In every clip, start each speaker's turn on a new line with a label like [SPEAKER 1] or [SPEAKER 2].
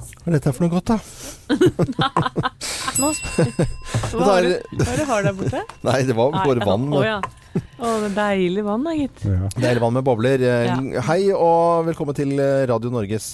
[SPEAKER 1] Hva er dette for noe godt, da?
[SPEAKER 2] Nå, hva
[SPEAKER 1] Dette
[SPEAKER 2] er
[SPEAKER 1] er-
[SPEAKER 2] det hva er det du har der borte?
[SPEAKER 1] Nei, det var bare
[SPEAKER 2] Nei,
[SPEAKER 1] vann.
[SPEAKER 2] Å ja. Å, det er deilig vann da, gitt.
[SPEAKER 1] Deilig vann med bobler. Eh,
[SPEAKER 2] Ja.
[SPEAKER 1] Hei og velkommen til eh, Radio Norges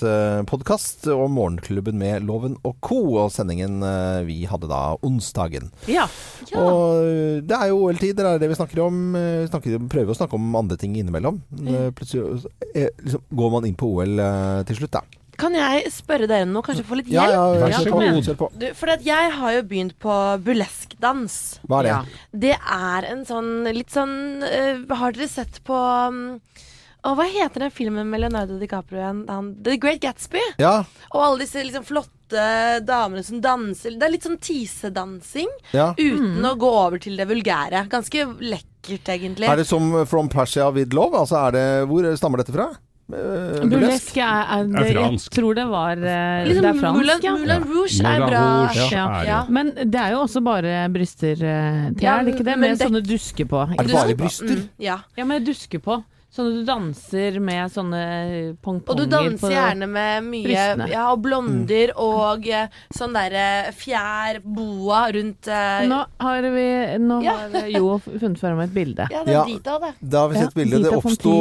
[SPEAKER 1] podkast og Morgenklubben med Loven og co. og sendingen eh, vi hadde da onsdagen.
[SPEAKER 2] Ja.
[SPEAKER 1] Og eh, det er jo OL-tid, det er det vi snakker om. Eh, Vi snakker, prøver å snakke om andre ting innimellom. Eh, Plutselig eh, liksom, går man inn på OL eh, til slutt, da.
[SPEAKER 3] Kan jeg spørre dere nå, kanskje få litt
[SPEAKER 1] Ja,
[SPEAKER 3] hjelp?
[SPEAKER 1] ja,
[SPEAKER 4] Vær
[SPEAKER 1] ja,
[SPEAKER 4] så
[SPEAKER 1] kom igjen,
[SPEAKER 4] god.
[SPEAKER 1] kjør på.
[SPEAKER 3] Du, fordi at jeg har jo begynt på burleskdans.
[SPEAKER 1] Hva er det?
[SPEAKER 4] Ja.
[SPEAKER 3] Det er en sånn litt sånn eh, Har dere sett på um, å, hva heter den filmen med Leonardo DiCaprio igjen? Han, The Great Gatsby?
[SPEAKER 1] Ja,
[SPEAKER 3] Og alle disse liksom flotte damene som danser. Det er litt sånn tisedansing
[SPEAKER 1] ja.
[SPEAKER 3] uten å gå over til det vulgære. Ganske lekkert, egentlig.
[SPEAKER 1] Er det som From Persia with Love? Altså, er det, hvor stammer dette fra? Eh,
[SPEAKER 2] Burlesk er,
[SPEAKER 4] Er
[SPEAKER 2] er, det, jeg
[SPEAKER 4] fransk.
[SPEAKER 2] tror det var eh,
[SPEAKER 3] Liksom
[SPEAKER 2] Det er
[SPEAKER 3] Moulin,
[SPEAKER 2] fransk, ja.
[SPEAKER 3] Moulin Rouge er
[SPEAKER 4] Moulin
[SPEAKER 3] bra.
[SPEAKER 4] Rouge
[SPEAKER 2] Ja.
[SPEAKER 4] er
[SPEAKER 3] Ja.
[SPEAKER 4] jo-
[SPEAKER 2] Men det er jo også bare bryster eh, til,
[SPEAKER 3] Ja,
[SPEAKER 2] er det ikke det?
[SPEAKER 3] men
[SPEAKER 2] Med
[SPEAKER 3] det-
[SPEAKER 2] sånne dusker på.
[SPEAKER 1] Er det bare bryster?
[SPEAKER 3] Mm, ja.
[SPEAKER 2] Ja, med dusker på. Sånn at du danser med sånne
[SPEAKER 3] Og du
[SPEAKER 2] pongponger
[SPEAKER 3] danser
[SPEAKER 2] på-
[SPEAKER 3] gjerne med mye
[SPEAKER 2] brystene. Mm.
[SPEAKER 3] ja, og blonder og eh, sånn derre fjær, boa rundt eh,
[SPEAKER 2] Nå har vi Nå
[SPEAKER 3] Ja.
[SPEAKER 2] har eh, jo funnet fram et bilde.
[SPEAKER 3] Ja, det er
[SPEAKER 1] Ja.
[SPEAKER 3] dit av det.
[SPEAKER 1] Da har vi sett
[SPEAKER 2] Ja,
[SPEAKER 1] bildet. Det
[SPEAKER 2] Dita von
[SPEAKER 1] oppsto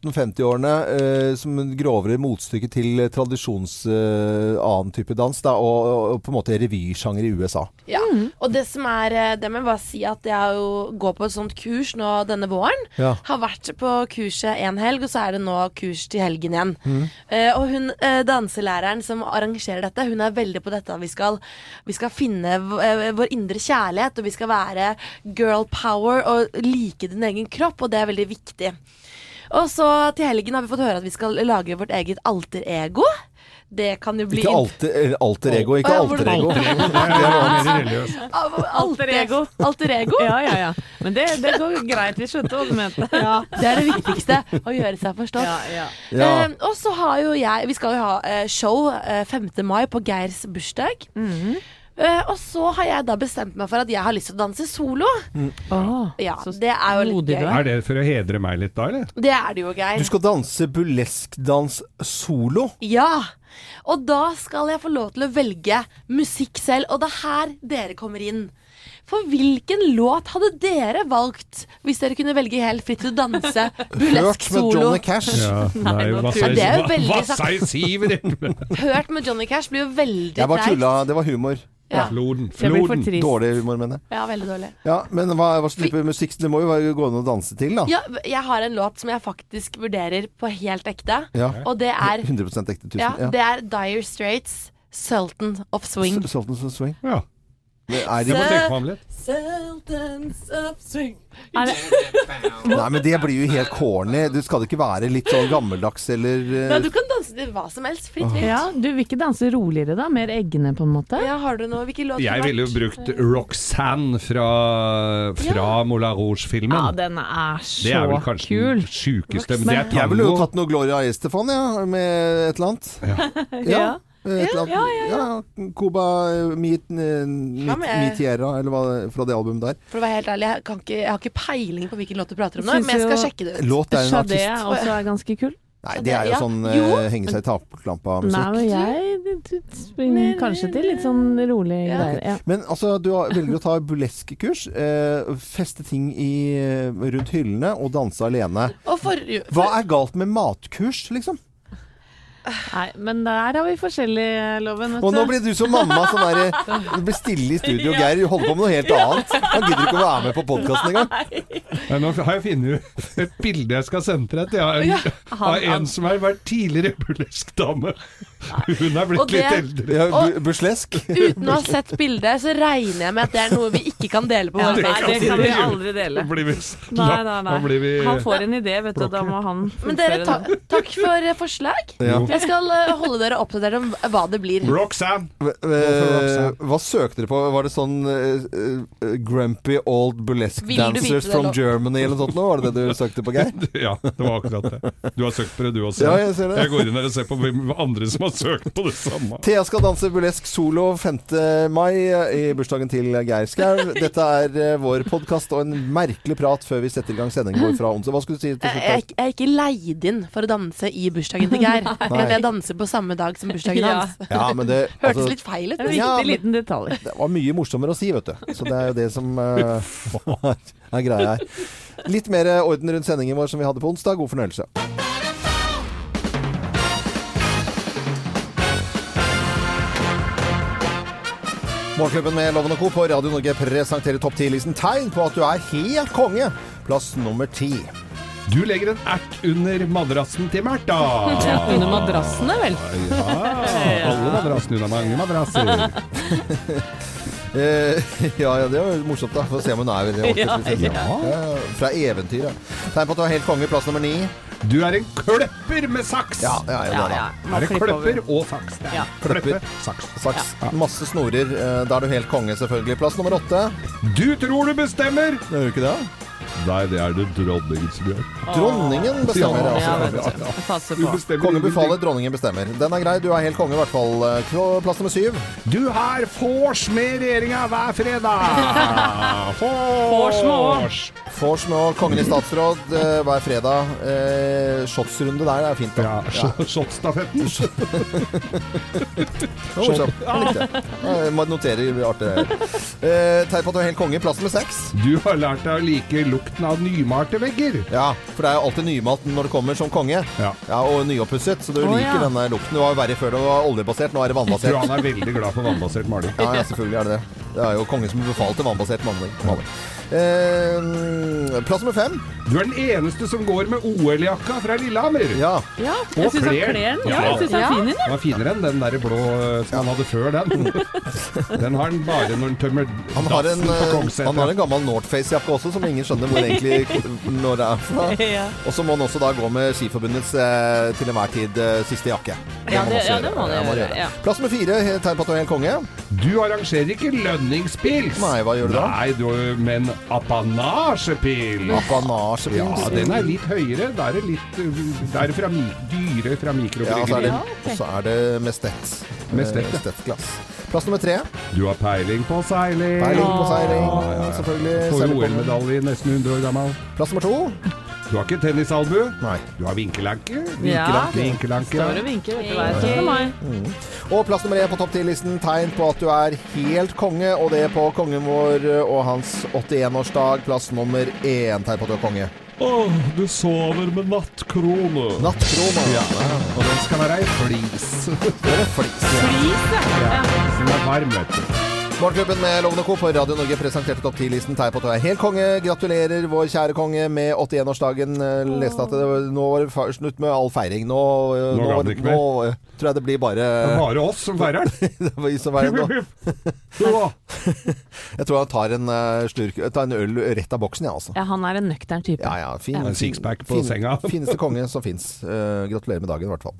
[SPEAKER 1] 1850-årene eh, som en grovere motstykke til tradisjons eh, annen type dans, da, og, og, og på en måte revysjanger i USA.
[SPEAKER 3] Ja.
[SPEAKER 1] Mm.
[SPEAKER 3] Og det som er eh, Det må jeg bare si at jeg jo går på et sånt kurs nå denne våren.
[SPEAKER 1] Ja.
[SPEAKER 3] Har vært på kurset en helg, og så er det nå kurs til helgen igjen.
[SPEAKER 1] Mm.
[SPEAKER 3] Eh, og hun eh, danselæreren som arrangerer dette, hun er veldig på dette. at Vi skal, vi skal finne v eh, vår indre kjærlighet, og vi skal være girl power og like din egen kropp, og det er veldig viktig. Og så til helgen har vi fått høre at vi skal lage vårt eget alter ego. Det kan jo bli
[SPEAKER 1] Ikke alter, eller alter ego, ikke
[SPEAKER 3] Å, ja, hvor-
[SPEAKER 1] alter ego.
[SPEAKER 4] Alter ego, det er mer religiøst.
[SPEAKER 3] Alter ego. Alter ego.
[SPEAKER 2] Ja, ja, ja. Men det, det går greit. Vi skjønte hva du mente.
[SPEAKER 3] Det er det viktigste. Å gjøre seg forstått.
[SPEAKER 2] Ja, ja.
[SPEAKER 1] Ja.
[SPEAKER 3] Eh, og så har jo jeg Vi skal jo ha eh, show eh, 5. mai på Geirs bursdag.
[SPEAKER 2] Mhm.
[SPEAKER 3] Eh, og så har jeg da bestemt meg for at jeg har lyst til å danse solo.
[SPEAKER 2] Åh,
[SPEAKER 3] Ja,
[SPEAKER 2] Mm. så
[SPEAKER 3] Det er jo litt
[SPEAKER 2] modig du
[SPEAKER 3] gøy.
[SPEAKER 2] er.
[SPEAKER 4] Er det for å hedre meg litt da, eller?
[SPEAKER 3] Det er det jo, Geir.
[SPEAKER 1] Du skal danse burleskdans solo.
[SPEAKER 3] Ja. Og da skal jeg få lov til å velge musikk selv, og det er her dere kommer inn. For hvilken låt hadde dere valgt hvis dere kunne velge helt fritt til å danse burlesk
[SPEAKER 1] Hørt med
[SPEAKER 3] solo?
[SPEAKER 1] Johnny Cash.
[SPEAKER 4] nei,
[SPEAKER 2] nå
[SPEAKER 4] hva
[SPEAKER 2] tror
[SPEAKER 4] sier-
[SPEAKER 3] jeg- Det er jo
[SPEAKER 4] hva-
[SPEAKER 3] veldig
[SPEAKER 4] Hva
[SPEAKER 3] sagt.
[SPEAKER 4] sier Siver?
[SPEAKER 3] Hørt med Johnny Cash blir jo veldig
[SPEAKER 1] Jeg bare
[SPEAKER 3] treigt.
[SPEAKER 1] tulla. Det var humor.
[SPEAKER 3] Ja.
[SPEAKER 4] Floden.
[SPEAKER 2] Jeg blir for
[SPEAKER 4] Floden.
[SPEAKER 2] trist.
[SPEAKER 1] Dårlig humor, mener jeg.
[SPEAKER 3] Ja, veldig dårlig.
[SPEAKER 1] Ja, men hva, hva slags type musikk? Det må jo være- gå an å danse til, da.
[SPEAKER 3] Ja, jeg har en låt som jeg faktisk vurderer på helt ekte.
[SPEAKER 1] Ja.
[SPEAKER 3] Og det er,
[SPEAKER 1] 100 ekte tusen.
[SPEAKER 3] ja,
[SPEAKER 1] Ja.
[SPEAKER 3] det er Dire Straits' 'Sultan of Swing'.
[SPEAKER 1] S- Sultans of Swing.
[SPEAKER 4] Ja,
[SPEAKER 1] Det er
[SPEAKER 4] jeg må
[SPEAKER 1] ikke
[SPEAKER 4] tenke meg om litt.
[SPEAKER 3] Sultans of Swing
[SPEAKER 2] Er det,
[SPEAKER 1] Nei, men det blir jo helt corny. Du skal det ikke være litt sånn gammeldags eller eh,
[SPEAKER 3] Nei, du kan danse til hva som helst. Fritt vilt.
[SPEAKER 2] ja, du vil ikke danse roligere da? Mer eggene, på en måte?
[SPEAKER 3] Ja, har du noe? Hvilken låt
[SPEAKER 4] Jeg ville jo brukt Roxanne fra, fra Moulin Rouge-filmen.
[SPEAKER 2] Ja, den er så
[SPEAKER 4] det er vel kanskje
[SPEAKER 2] kul.
[SPEAKER 4] den sjukeste, men det er
[SPEAKER 2] Roxanne.
[SPEAKER 1] Jeg ville jo
[SPEAKER 4] tango.
[SPEAKER 1] tatt noe Gloria Estefan, ja, med et eller annet. Ja. Et eller annet. Ja, ja. Cuba eh, Mi eh, Mi-
[SPEAKER 3] Ja, men-
[SPEAKER 1] Mi Tierra, eller hva det- fra det albumet der.
[SPEAKER 3] For å være helt ærlig, jeg, kan ikke, jeg har ikke peiling på hvilken låt du prater om nå,
[SPEAKER 2] Syns
[SPEAKER 3] men jeg skal
[SPEAKER 2] jo-
[SPEAKER 3] sjekke det ut.
[SPEAKER 1] Låt er en
[SPEAKER 2] Sade
[SPEAKER 1] artist.
[SPEAKER 2] også er ganske kul.
[SPEAKER 1] Nei, det er jo
[SPEAKER 3] Ja.
[SPEAKER 1] sånn eh,
[SPEAKER 3] Jo.
[SPEAKER 1] henge seg i
[SPEAKER 2] Nei,
[SPEAKER 1] taperklampa-musikk.
[SPEAKER 2] men jeg det- det springer kanskje til litt sånn rolig
[SPEAKER 3] Ja.
[SPEAKER 2] greier. Ja.
[SPEAKER 1] Men altså, du har- velger å ta burleskekurs, eh, feste ting i, eh, rundt hyllene og danse alene.
[SPEAKER 3] Og for, for,
[SPEAKER 1] Hva er galt med matkurs, liksom?
[SPEAKER 2] Nei, men der har vi forskjellige, Loven. Vet
[SPEAKER 1] Og nå
[SPEAKER 2] du.
[SPEAKER 1] blir du som mamma sånn der eh, Det blir stille i studio, Geir. Du holder på med noe helt annet. Han gidder ikke å være med på podkasten engang.
[SPEAKER 4] Ja, Nå har jeg funnet ut et bilde jeg skal sende til deg. Jeg har en,
[SPEAKER 2] han-
[SPEAKER 4] av en som har vært tidligere burlesk dame. Hun er
[SPEAKER 3] Og
[SPEAKER 4] blitt litt
[SPEAKER 3] det-
[SPEAKER 4] eldre.
[SPEAKER 1] Ja, bu- Burlesk.
[SPEAKER 3] uten å ha sett bildet, så regner jeg med at det er noe vi ikke kan dele på
[SPEAKER 2] Ja,
[SPEAKER 3] vår
[SPEAKER 4] det
[SPEAKER 2] nei,
[SPEAKER 3] fest.
[SPEAKER 4] kan
[SPEAKER 2] det kan
[SPEAKER 4] vi
[SPEAKER 2] vi
[SPEAKER 4] ikke.
[SPEAKER 2] aldri dele.
[SPEAKER 4] Da blir vi,
[SPEAKER 2] Nei, nei, nei.
[SPEAKER 4] Da blir vi
[SPEAKER 2] Han får en idé, vet du, da må han
[SPEAKER 3] Men dere,
[SPEAKER 2] fullføre
[SPEAKER 3] ta,
[SPEAKER 2] den.
[SPEAKER 3] takk for eh, forslag.
[SPEAKER 1] Ja.
[SPEAKER 3] Jeg skal eh, holde dere oppdatert om hva det blir.
[SPEAKER 4] Roxanne!
[SPEAKER 1] Eh, Hva søkte dere på? Var det sånn eh, eh, Grumpy Old Burlesque
[SPEAKER 3] Vil du vite
[SPEAKER 1] Dancers
[SPEAKER 3] det,
[SPEAKER 1] from
[SPEAKER 3] da?
[SPEAKER 1] Germany eller noe sånt? nå? Var det det du søkte på, Geir?
[SPEAKER 4] Ja, det var akkurat det. Du har søkt på det, du også.
[SPEAKER 1] Ja, jeg ser det.
[SPEAKER 4] går inn her og ser på hvem andre som har har søkt på det samme.
[SPEAKER 1] Thea skal danse burlesk solo 5. mai eh, i bursdagen til Geir Skau. Dette er eh, vår podkast og en merkelig prat før vi setter i gang sendingen vår fra onsdag. Hva skulle du si til
[SPEAKER 3] Jeg, jeg,
[SPEAKER 1] slutt?
[SPEAKER 3] jeg er ikke leid inn for å danse i bursdagen til Geir. Men jeg danser på samme dag som bursdagen
[SPEAKER 2] Ja.
[SPEAKER 3] hans.
[SPEAKER 1] Thea? Ja, men det,
[SPEAKER 3] Hørtes
[SPEAKER 1] altså,
[SPEAKER 3] litt feil ut.
[SPEAKER 2] En viktig
[SPEAKER 1] Ja, men-
[SPEAKER 2] liten detalj.
[SPEAKER 1] det var mye morsommere å si, vet du. Så det er jo det som eh, er greia her. Litt mer orden rundt sendingen vår som vi hadde på onsdag. God fornøyelse. Morgenklubben med Loven og Co. på Radio Norge presenterer topp 10-listen tegn på at du er helt konge. Plass nummer ti.
[SPEAKER 4] Du legger en ert under madrassen til Märtha.
[SPEAKER 2] Under madrassene, vel.
[SPEAKER 4] Ja, alle madrassene. Hun har mange madrasser.
[SPEAKER 1] Eh, ja, ja, det var jo morsomt, da. Få se om hun er veldig
[SPEAKER 2] Ja,
[SPEAKER 1] ordentlig. Eh, Fra eventyret. Tegn på at du er helt konge. Plass nummer ni.
[SPEAKER 4] Du er en kløpper med saks.
[SPEAKER 1] Ja, ja, ja,
[SPEAKER 2] Ja,
[SPEAKER 1] der, ja.
[SPEAKER 2] ja. Nå
[SPEAKER 4] Er det
[SPEAKER 2] klipper vi.
[SPEAKER 4] kløpper og saks? Det er
[SPEAKER 2] Ja.
[SPEAKER 1] Kløpper.
[SPEAKER 4] saks.
[SPEAKER 1] Saks. Masse snorer. eh, Da er du helt konge, selvfølgelig. Plass nummer åtte.
[SPEAKER 4] Du tror du bestemmer!
[SPEAKER 1] Gjør du ikke det?
[SPEAKER 4] Nei, det er det dronningen som gjør.
[SPEAKER 1] Dronningen bestemmer.
[SPEAKER 4] Ja,
[SPEAKER 2] Ja,
[SPEAKER 1] altså.
[SPEAKER 2] vet du. Jeg passer
[SPEAKER 4] Du
[SPEAKER 2] på.
[SPEAKER 4] bestemmer
[SPEAKER 1] Kongen
[SPEAKER 4] ingenting.
[SPEAKER 1] befaler, dronningen bestemmer. Den er grei, du er helt konge i hvert fall. Eh, Klo- Plass nummer syv.
[SPEAKER 4] Du har vors med regjeringa hver fredag!
[SPEAKER 2] Vors med vors.
[SPEAKER 1] Vors med og kongen i statsråd eh, hver fredag. Eh, Shotsrunde der er fint.
[SPEAKER 4] Ja,
[SPEAKER 1] da. Ja.
[SPEAKER 4] sh- shotstafetten.
[SPEAKER 1] Det var morsomt. Jeg likte det. Jeg må notere artig. Eh, Tegn på at du er helt konge. Plass nummer seks.
[SPEAKER 4] Du har lært deg å like lukten av nymalte vegger.
[SPEAKER 1] Ja, for det er jo alltid nymalt når det kommer som konge.
[SPEAKER 4] Ja.
[SPEAKER 1] Og nyoppusset, så du
[SPEAKER 2] Å,
[SPEAKER 1] liker
[SPEAKER 2] ja.
[SPEAKER 1] denne lukten. Det var jo verre før det var oljebasert, nå er det
[SPEAKER 4] Tror
[SPEAKER 1] vannbasert.
[SPEAKER 4] han er veldig glad for vannbasert maling.
[SPEAKER 1] Ja, ja, selvfølgelig er det det. Det er jo kongen som befalte vannbasert maling. maling. Eh, plass nummer fem.
[SPEAKER 4] Du er den eneste som går med OL-jakka fra Lillehammer.
[SPEAKER 1] Ja.
[SPEAKER 2] Ja, jeg syns han
[SPEAKER 4] klær.
[SPEAKER 2] kler den.
[SPEAKER 4] Ja.
[SPEAKER 2] Ja, jeg syns han er fin i den.
[SPEAKER 4] Den var finere enn den der blå eh, som han hadde før den. Den har han bare når han tømmer
[SPEAKER 1] Han har, en,
[SPEAKER 4] dassen på
[SPEAKER 1] eh, han har
[SPEAKER 4] Kongsseter.
[SPEAKER 1] en gammel Northface-jakke også, som ingen skjønner hvor egentlig ko- når det er fra.
[SPEAKER 2] Ja.
[SPEAKER 1] Og så må han også da gå med Skiforbundets eh, til enhver tid eh, siste jakke. må
[SPEAKER 2] Ja,
[SPEAKER 1] han
[SPEAKER 2] det-
[SPEAKER 1] også
[SPEAKER 2] ja, det må han
[SPEAKER 1] Ja,
[SPEAKER 2] gjøre, ja.
[SPEAKER 1] Plass nummer fire, he- tegn på at du er helt konge.
[SPEAKER 4] Du arrangerer ikke lønningspils.
[SPEAKER 1] Nei, hva gjør du da? Ah,
[SPEAKER 4] Nei, du, men apanasjepils. Ja,
[SPEAKER 1] Apanasjepils.
[SPEAKER 4] den er litt høyere. Da er det litt uh, Da er det fra mi dyre fra
[SPEAKER 1] Ja, så er
[SPEAKER 4] mikrobryggeriet.
[SPEAKER 1] det,
[SPEAKER 2] Ja, ok.
[SPEAKER 1] så er det Mestet.
[SPEAKER 4] Mestet, ja.
[SPEAKER 1] glass. Plass nummer tre.
[SPEAKER 4] du har peiling på seiling.
[SPEAKER 1] Peiling på seiling,
[SPEAKER 4] Ja, ja, ja.
[SPEAKER 1] selvfølgelig.
[SPEAKER 4] Får
[SPEAKER 1] Seiler
[SPEAKER 4] jo
[SPEAKER 1] kongen.
[SPEAKER 4] OL-medalje nesten 100 år gammel.
[SPEAKER 1] Plass nummer to.
[SPEAKER 4] Du har ikke tennisalbue.
[SPEAKER 1] Nei.
[SPEAKER 4] Du har vinkelanke.
[SPEAKER 2] Ja.
[SPEAKER 4] Vinkelanke.
[SPEAKER 2] Står og vinker, vet du hva. Jeg syns meg.
[SPEAKER 1] Og plass nummer én på topp 10-listen tegn på at du er helt konge, og det på kongen vår og hans 81-årsdag. Plass nummer én tegn på at du er konge.
[SPEAKER 4] Åh, du sover med nattkrone.
[SPEAKER 1] Nattkron. Ja.
[SPEAKER 4] Og den skal være ei flis.
[SPEAKER 1] Det er flis.
[SPEAKER 4] Den er varm, vet du.
[SPEAKER 1] Morgenklubben med Lovende Co. på Radio Norge presenterte topp 10-listen tegn på at du er helt konge. Gratulerer vår kjære konge med 81-årsdagen. Eh, Leste at det var, nå var det fa- slutt med all feiring. Nå, eh,
[SPEAKER 4] Nå
[SPEAKER 1] nå,
[SPEAKER 4] gadd
[SPEAKER 1] var-
[SPEAKER 4] det ikke mer.
[SPEAKER 1] nå eh, tror jeg det blir bare
[SPEAKER 4] Det er bare oss som feirer den.
[SPEAKER 1] det var is og vei nå. Jeg tror han tar en eh, slurk Tar en øl rett av boksen, jeg, ja, altså.
[SPEAKER 2] Ja, han er en nøktern type.
[SPEAKER 1] Ja, ja. Fin,
[SPEAKER 2] Ja.
[SPEAKER 4] En sixpack på senga.
[SPEAKER 1] Fineste konge som fins. Eh, gratulerer med dagen, i hvert fall.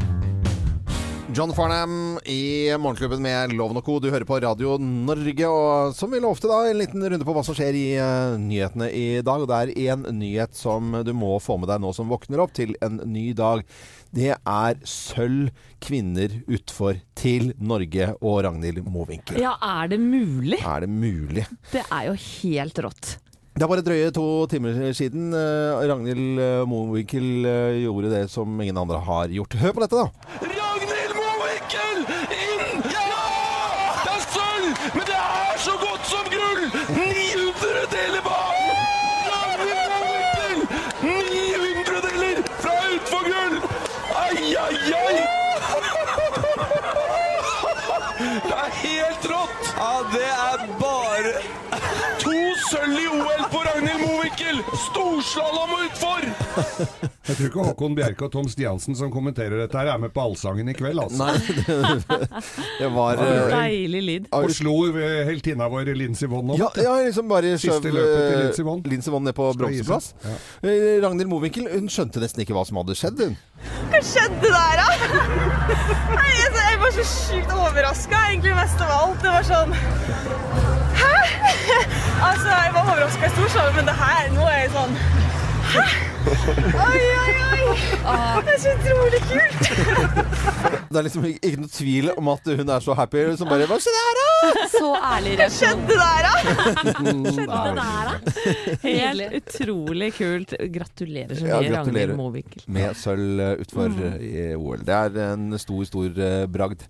[SPEAKER 1] John Farnham i Morgenklubben med Loven og Co. Du hører på Radio Norge, og som vi lovte, da, en liten runde på hva som skjer i eh, nyhetene i dag. Og det er én nyhet som du må få med deg nå som våkner opp til en ny dag. Det er sølv kvinner utfor til Norge og Ragnhild Mowinckel.
[SPEAKER 2] Ja, er det mulig?
[SPEAKER 1] Er det mulig?
[SPEAKER 2] Det er jo helt rått.
[SPEAKER 1] Det er bare drøye to timer siden eh, Ragnhild eh, Mowinckel eh, gjorde det som ingen andre har gjort. Hør på dette, da.
[SPEAKER 5] Ragnhild Mowinckel inn! Ja! Det er sølv, men det er så godt som gull! 900 deler bak! Ragnhild Mowinckel! 900 deler fra utfor gull! Ai, ai, ai! Det er helt rått! Ja, det er bare To sølv i OL på Ragnhild Mowinckel! Storslalåm og utfor!
[SPEAKER 4] Jeg tror ikke Håkon Bjerke og Tom Stiansen som kommenterer dette, her er med på Allsangen i kveld, altså.
[SPEAKER 1] Nei, det, det var eh,
[SPEAKER 2] Deilig lyd.
[SPEAKER 4] Og slo eh, heltinna vår Lincy Vonn
[SPEAKER 1] ja,
[SPEAKER 4] opp.
[SPEAKER 1] ja, liksom bare
[SPEAKER 4] Siste
[SPEAKER 1] skjøv
[SPEAKER 4] løpet til
[SPEAKER 1] eh,
[SPEAKER 4] Lindsey Vonn.
[SPEAKER 1] Lindsey Vonn ned på
[SPEAKER 4] Skal gi seg.
[SPEAKER 1] bronseplass. Eh, Ragnhild Mowinckel hun skjønte nesten ikke hva som hadde skjedd. Hun.
[SPEAKER 6] skjedde der, da? Nei, altså, Jeg var så sjukt overraska, egentlig mest av alt. Det var sånn Hæ? Altså, jeg var overraska i storsalen, men det her Nå er jeg sånn Oi, oi, oi! Det er så utrolig kult!
[SPEAKER 1] Det er liksom ikke noe tvil om at hun er så happy som bare Hva skjer her, da?
[SPEAKER 3] Så ærlig reaksjon.
[SPEAKER 6] Skjedde der, da?
[SPEAKER 2] Det der, da. Helt utrolig kult. Gratulerer så
[SPEAKER 1] Ja,
[SPEAKER 2] mye,
[SPEAKER 1] gratulerer.
[SPEAKER 2] Ragnhild Mowinckel.
[SPEAKER 1] Med sølv eh, utfor
[SPEAKER 4] Mm.
[SPEAKER 1] eh, i OL. Det er en stor, stor eh, bragd.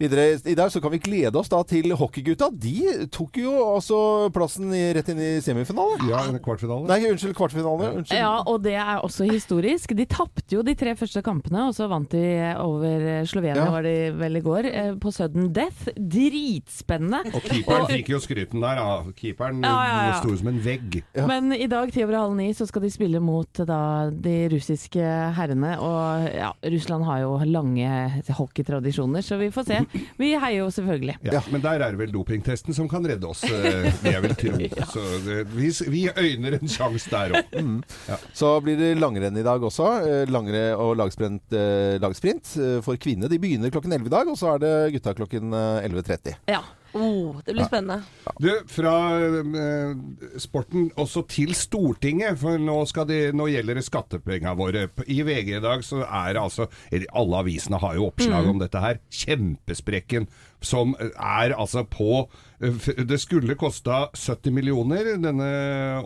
[SPEAKER 1] Videre i dag så kan vi glede oss da til hockeygutta. De tok jo altså plassen i, rett inn i semifinale.
[SPEAKER 4] Ja, en kvartfinale.
[SPEAKER 1] Nei, unnskyld, kvartfinale. Unnskyld.
[SPEAKER 2] Ja, og det er også historisk. De tapte jo de tre første kampene, og så vant de over eh, Slovenia,
[SPEAKER 1] Ja.
[SPEAKER 2] var de vel i går, eh, på sudden death. Dritspennende.
[SPEAKER 4] Og keeperen fikk jo skryten der, da. Keeperen
[SPEAKER 2] Ja, ja, ja.
[SPEAKER 4] var stor som en vegg.
[SPEAKER 2] Men i dag ti over halv ni så skal de spille mot eh, da, de russiske herrene. Og ja, Russland har jo lange hockeytradisjoner, så vi får se. Vi heier jo selvfølgelig.
[SPEAKER 4] Ja, Men der er det vel dopingtesten som kan redde oss, eh, vil jeg vil tro. Så det, vi, vi øyner en sjanse der òg.
[SPEAKER 1] Så blir det langrenn i dag også. Eh, Langre og lagsprint, eh, lagsprint eh, for kvinner. De begynner klokken 11 i dag, og så er det gutta klokken eh, 11.30.
[SPEAKER 2] Ja.
[SPEAKER 3] Oh, det blir spennende.
[SPEAKER 4] Du, fra eh, sporten også til Stortinget, for nå, skal de, nå gjelder det skattepengene våre. P- I VG i dag så er det altså eller Alle avisene har jo oppslag om dette her. Kjempesprekken som er altså på eh, f- Det skulle kosta 70 millioner, denne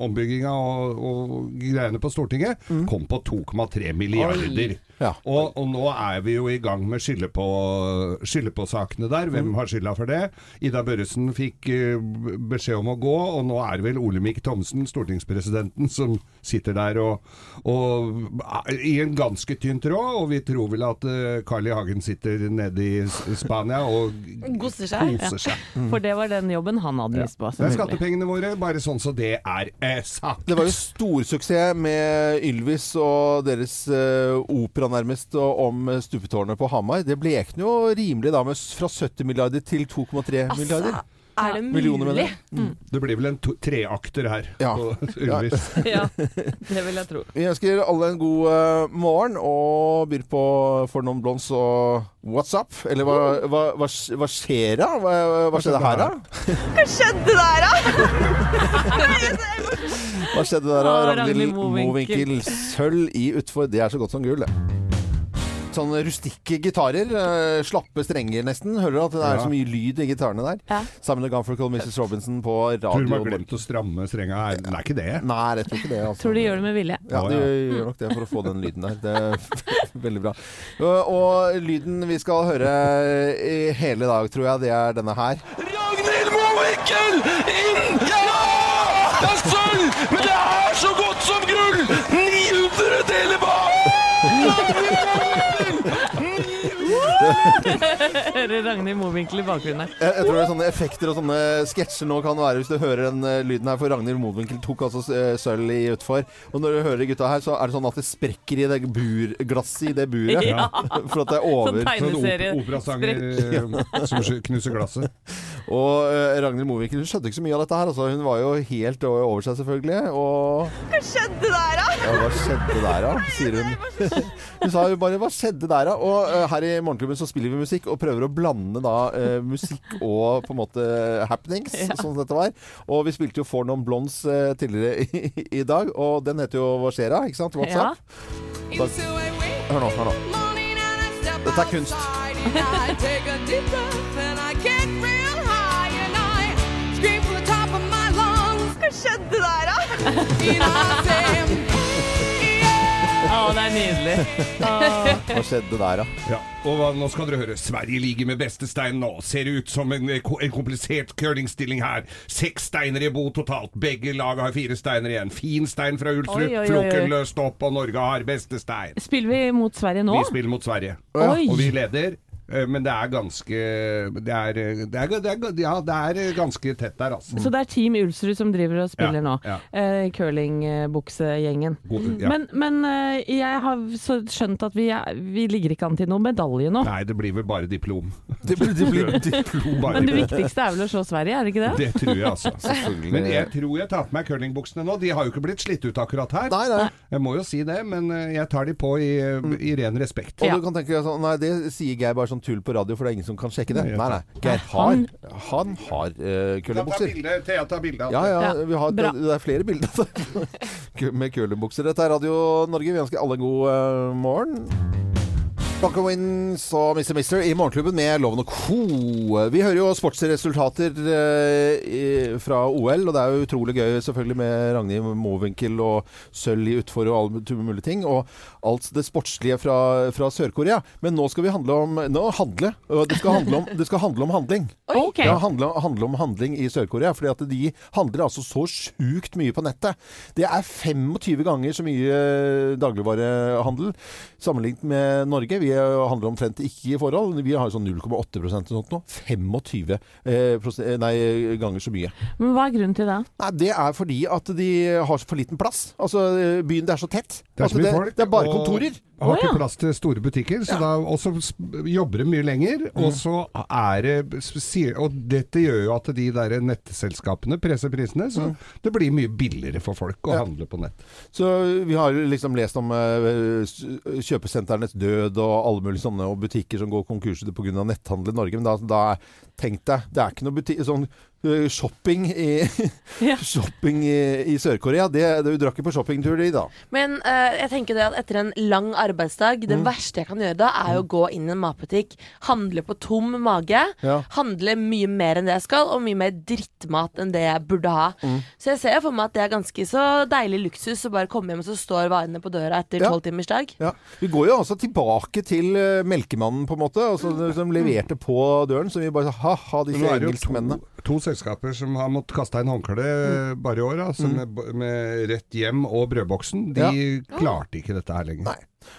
[SPEAKER 4] ombygginga og, og greiene på Stortinget. Kom på 2,3 milliarder.
[SPEAKER 1] Ja.
[SPEAKER 4] Og, og nå er vi jo i gang med skylde på, skylde på sakene der. Hvem
[SPEAKER 1] Mm.
[SPEAKER 4] har skylda for det? Ida Børresen fikk eh, b- beskjed om å gå, og nå er det vel Olemic Thomsen, stortingspresidenten, som sitter der og, og i en ganske tynn tråd. Og vi tror vel at eh, Carl I. Hagen sitter nede i S- Spania og
[SPEAKER 3] Koser seg.
[SPEAKER 4] koser seg.
[SPEAKER 2] For det var den jobben han hadde lyst
[SPEAKER 4] Mm. Det
[SPEAKER 2] på.
[SPEAKER 4] er
[SPEAKER 2] selvfølgelig.
[SPEAKER 4] skattepengene våre, bare sånn så det er eh, sagt.
[SPEAKER 1] Det var jo storsuksess med Ylvis og deres eh, opera nærmest og om eh, stupetårnet på Hamar. Det blekner jo rimelig da med s- fra 70 milliarder til 2,3 milliarder.
[SPEAKER 3] Altså, er det
[SPEAKER 1] Millioner, mener
[SPEAKER 3] mulig?
[SPEAKER 1] jeg.
[SPEAKER 4] Det blir vel en to- treakter her.
[SPEAKER 1] Ja.
[SPEAKER 4] på Ylvis.
[SPEAKER 2] Ja, det vil jeg tro.
[SPEAKER 1] Vi ønsker alle en god eh, morgen og byr på for noen blondes og what's up? Eller hva, hva, hva, sk- hva skjer da? Hva, hva skjedde her da?
[SPEAKER 6] Hva skjedde der, da?
[SPEAKER 1] Hva skjedde der da?
[SPEAKER 2] Å,
[SPEAKER 1] Ragnhild
[SPEAKER 2] Ragnhild
[SPEAKER 1] Mowinckel.
[SPEAKER 2] Mowinckel.
[SPEAKER 1] Sølv i utfor. Det er så godt som gull, det. Sånne rustikke gitarer. eh, slappe strenger, nesten. Hører du at det er
[SPEAKER 4] Ja.
[SPEAKER 1] så mye lyd i gitarene der?
[SPEAKER 3] Ja.
[SPEAKER 1] Sammen med Garfunkel Mrs. Robinson på radio.
[SPEAKER 4] Tror du man har glemt å stramme strenga her. Det er ikke det.
[SPEAKER 1] Nei, jeg tror ikke det. Altså.
[SPEAKER 2] Tror de gjør det med vilje.
[SPEAKER 1] Ja,
[SPEAKER 4] Å,
[SPEAKER 1] de
[SPEAKER 4] ja.
[SPEAKER 1] gjør nok det for å få den lyden der. Det er veldig bra. Og, og lyden vi skal høre i hele dag, tror jeg, det er denne her.
[SPEAKER 5] Ragnhild Mowinckel inn! Ja! Det er sølv, men det er så godt som gull! 900 deler bak!
[SPEAKER 2] Hører Ragnhild Mowinckel i bakgrunnen her.
[SPEAKER 1] Jeg, jeg tror det er sånne effekter og sånne sketsjer nå kan være hvis du hører den eh, lyden her, for Ragnhild Mowinckel tok altså eh, sølv i utfor. Og når du hører gutta her, så er det sånn at det sprekker i det bur, glasset i det buret.
[SPEAKER 2] Ja.
[SPEAKER 1] For at det er over.
[SPEAKER 2] Sånn tegn.
[SPEAKER 4] Sånn
[SPEAKER 2] Tegneserie.
[SPEAKER 4] op- operasanger eh, som knuser glasset.
[SPEAKER 1] Og eh, Ragnhild Mowinckel hun skjønte ikke så mye av dette her. Altså. Hun var jo helt o- over seg, selvfølgelig. Og
[SPEAKER 6] Hva skjedde der, da?
[SPEAKER 1] ja, hva skjedde der, da? sier hun. Hun sa jo bare 'hva skjedde der', da? Og eh, her i Morgenklubben så spiller vi musikk og prøver å blande da eh, musikk og på en måte happenings, sånn som dette var. Og vi spilte jo For Non Blondes eh, tidligere i, i dag, og den heter jo Hva skjer da? Ikke sant?
[SPEAKER 2] Ja.
[SPEAKER 1] WhatsApp. Da, hør nå, hør nå. Dette er kunst.
[SPEAKER 6] Hva skjedde der, da?
[SPEAKER 2] Å, det er nydelig.
[SPEAKER 1] Hva skjedde der, da?
[SPEAKER 4] Ja, og hva, nå skal dere høre. Sverige ligger med beste stein nå. Ser ut som en, eh, ko- en komplisert curlingstilling her. Seks steiner i bo totalt. Begge lag har fire steiner igjen. Fin stein fra Ulsrud.
[SPEAKER 2] Oi, oi, oi, oi.
[SPEAKER 4] Flokken løst opp, og Norge har beste stein.
[SPEAKER 2] Spiller vi mot Sverige nå?
[SPEAKER 4] Vi spiller mot Sverige.
[SPEAKER 2] Oi.
[SPEAKER 4] Og vi leder. eh, Men det er ganske Det er, det er, det er, ja, det er eh, ganske tett der, altså.
[SPEAKER 2] Så det er Team Ulsrud som driver og spiller
[SPEAKER 4] Ja,
[SPEAKER 2] nå.
[SPEAKER 4] ja.
[SPEAKER 2] Eh, Curlingbuksegjengen.
[SPEAKER 4] God- ja.
[SPEAKER 2] Men, men eh, jeg har så skjønt at vi, er, vi ligger ikke an til noen medalje nå.
[SPEAKER 4] Nei, det blir vel bare diplom.
[SPEAKER 1] Det blir, det blir
[SPEAKER 4] diplom bare
[SPEAKER 2] Men det viktigste er vel å slå Sverige, er det ikke det?
[SPEAKER 4] Det tror jeg, altså.
[SPEAKER 1] Selvfølgelig.
[SPEAKER 4] Men jeg tror jeg tar på meg curlingbuksene nå. De har jo ikke blitt slitt ut akkurat her.
[SPEAKER 1] Nei, Mm. nei.
[SPEAKER 4] Jeg må jo si det, men eh, jeg tar de på i, i ren respekt.
[SPEAKER 1] Og
[SPEAKER 2] Ja.
[SPEAKER 1] du kan tenke sånn Nei, det sier Geir bare sånn tull på radio, for det er ingen som kan sjekke det.
[SPEAKER 4] Nei, jeg
[SPEAKER 1] Nei, nei. Geir har
[SPEAKER 2] Han-
[SPEAKER 1] Han har uh,
[SPEAKER 4] Ta ta
[SPEAKER 1] køllebukser.
[SPEAKER 4] bilde, Thea tar bilde. altså. av
[SPEAKER 1] Ja, ja,
[SPEAKER 2] Ja,
[SPEAKER 1] vi har,
[SPEAKER 2] bra.
[SPEAKER 1] det er flere bilder av det. Kø- med curlingbukser. Dette er Radio Norge. Vi ønsker alle en god eh, morgen. Bucka Wins og Mr. Mister i Morgenklubben med Loven og Co. Vi hører jo sportsresultater eh, i- fra OL, og det er jo utrolig gøy selvfølgelig med Ragnhild Mowinckel og sølv i utfor og alle mulige ting. Og alt det sportslige fra, fra Sør-Korea. Men nå skal vi handle om Nå handle. og Det skal handle om, det skal handle om handling.
[SPEAKER 2] Ok.
[SPEAKER 1] Ja, handle, handle om handling i Sør-Korea. Fordi at de handler altså så sjukt mye på nettet. Det er 25 ganger så mye eh, dagligvarehandel sammenlignet med Norge. Vi eh, handler omtrent ikke i forhold. Vi har jo sånn 0,8 eller sånt nå. 25 eh, pros- eh, nei, ganger så mye.
[SPEAKER 2] Men hva er grunnen til det?
[SPEAKER 1] Nei, Det er fordi at de har så for liten plass. Altså, eh, Byen det er så tett.
[SPEAKER 4] Det er så
[SPEAKER 1] altså,
[SPEAKER 4] mye
[SPEAKER 1] det,
[SPEAKER 4] folk.
[SPEAKER 1] det er bare
[SPEAKER 4] og
[SPEAKER 1] kontorer.
[SPEAKER 4] Har
[SPEAKER 2] Å, ja.
[SPEAKER 4] ikke plass til store butikker, så da også s- jobber de mye lenger.
[SPEAKER 1] Mm.
[SPEAKER 4] Og så er det s- sier- Og dette gjør jo at de der nettselskapene presser prisene, så det blir mye billigere for folk å
[SPEAKER 1] Mm. Ja.
[SPEAKER 4] handle på nett.
[SPEAKER 1] Så vi har jo liksom lest om eh, s- kjøpesentrenes død og alle mulige sånne, og butikker som går konkurs pga. netthandel i Norge. Men da, da tenk deg, det er ikke noe buti- sånn eh, shopping i,
[SPEAKER 2] Ja.
[SPEAKER 1] shopping i, i Sør-Korea. Det, det, du drar ikke på shoppingtur de da.
[SPEAKER 3] Men eh, jeg tenker det at etter en lang arbeidsdag
[SPEAKER 1] Mm.
[SPEAKER 3] Det verste jeg kan gjøre da, er å gå inn i en matbutikk, handle på tom mage,
[SPEAKER 1] Ja.
[SPEAKER 3] handle mye mer enn det jeg skal, og mye mer drittmat enn det jeg burde ha.
[SPEAKER 1] Mm.
[SPEAKER 3] Så jeg ser jo for meg at det er ganske så deilig luksus å bare komme hjem, og så står varene på døra etter
[SPEAKER 1] Ja.
[SPEAKER 3] tolvtimersdag.
[SPEAKER 1] Ja. Vi går jo altså tilbake til eh, melkemannen, på en måte, altså, som leverte på døren. Så vi bare sa ha-ha,
[SPEAKER 4] Mm. Nå
[SPEAKER 1] disse
[SPEAKER 4] er det jo to,
[SPEAKER 1] engelskmennene.
[SPEAKER 4] to selskaper som har måttet kaste inn håndkle
[SPEAKER 1] Mm.
[SPEAKER 4] eh, bare i år, altså med, med Rett Hjem og Brødboksen. De klarte ikke dette her lenger.
[SPEAKER 1] Nei.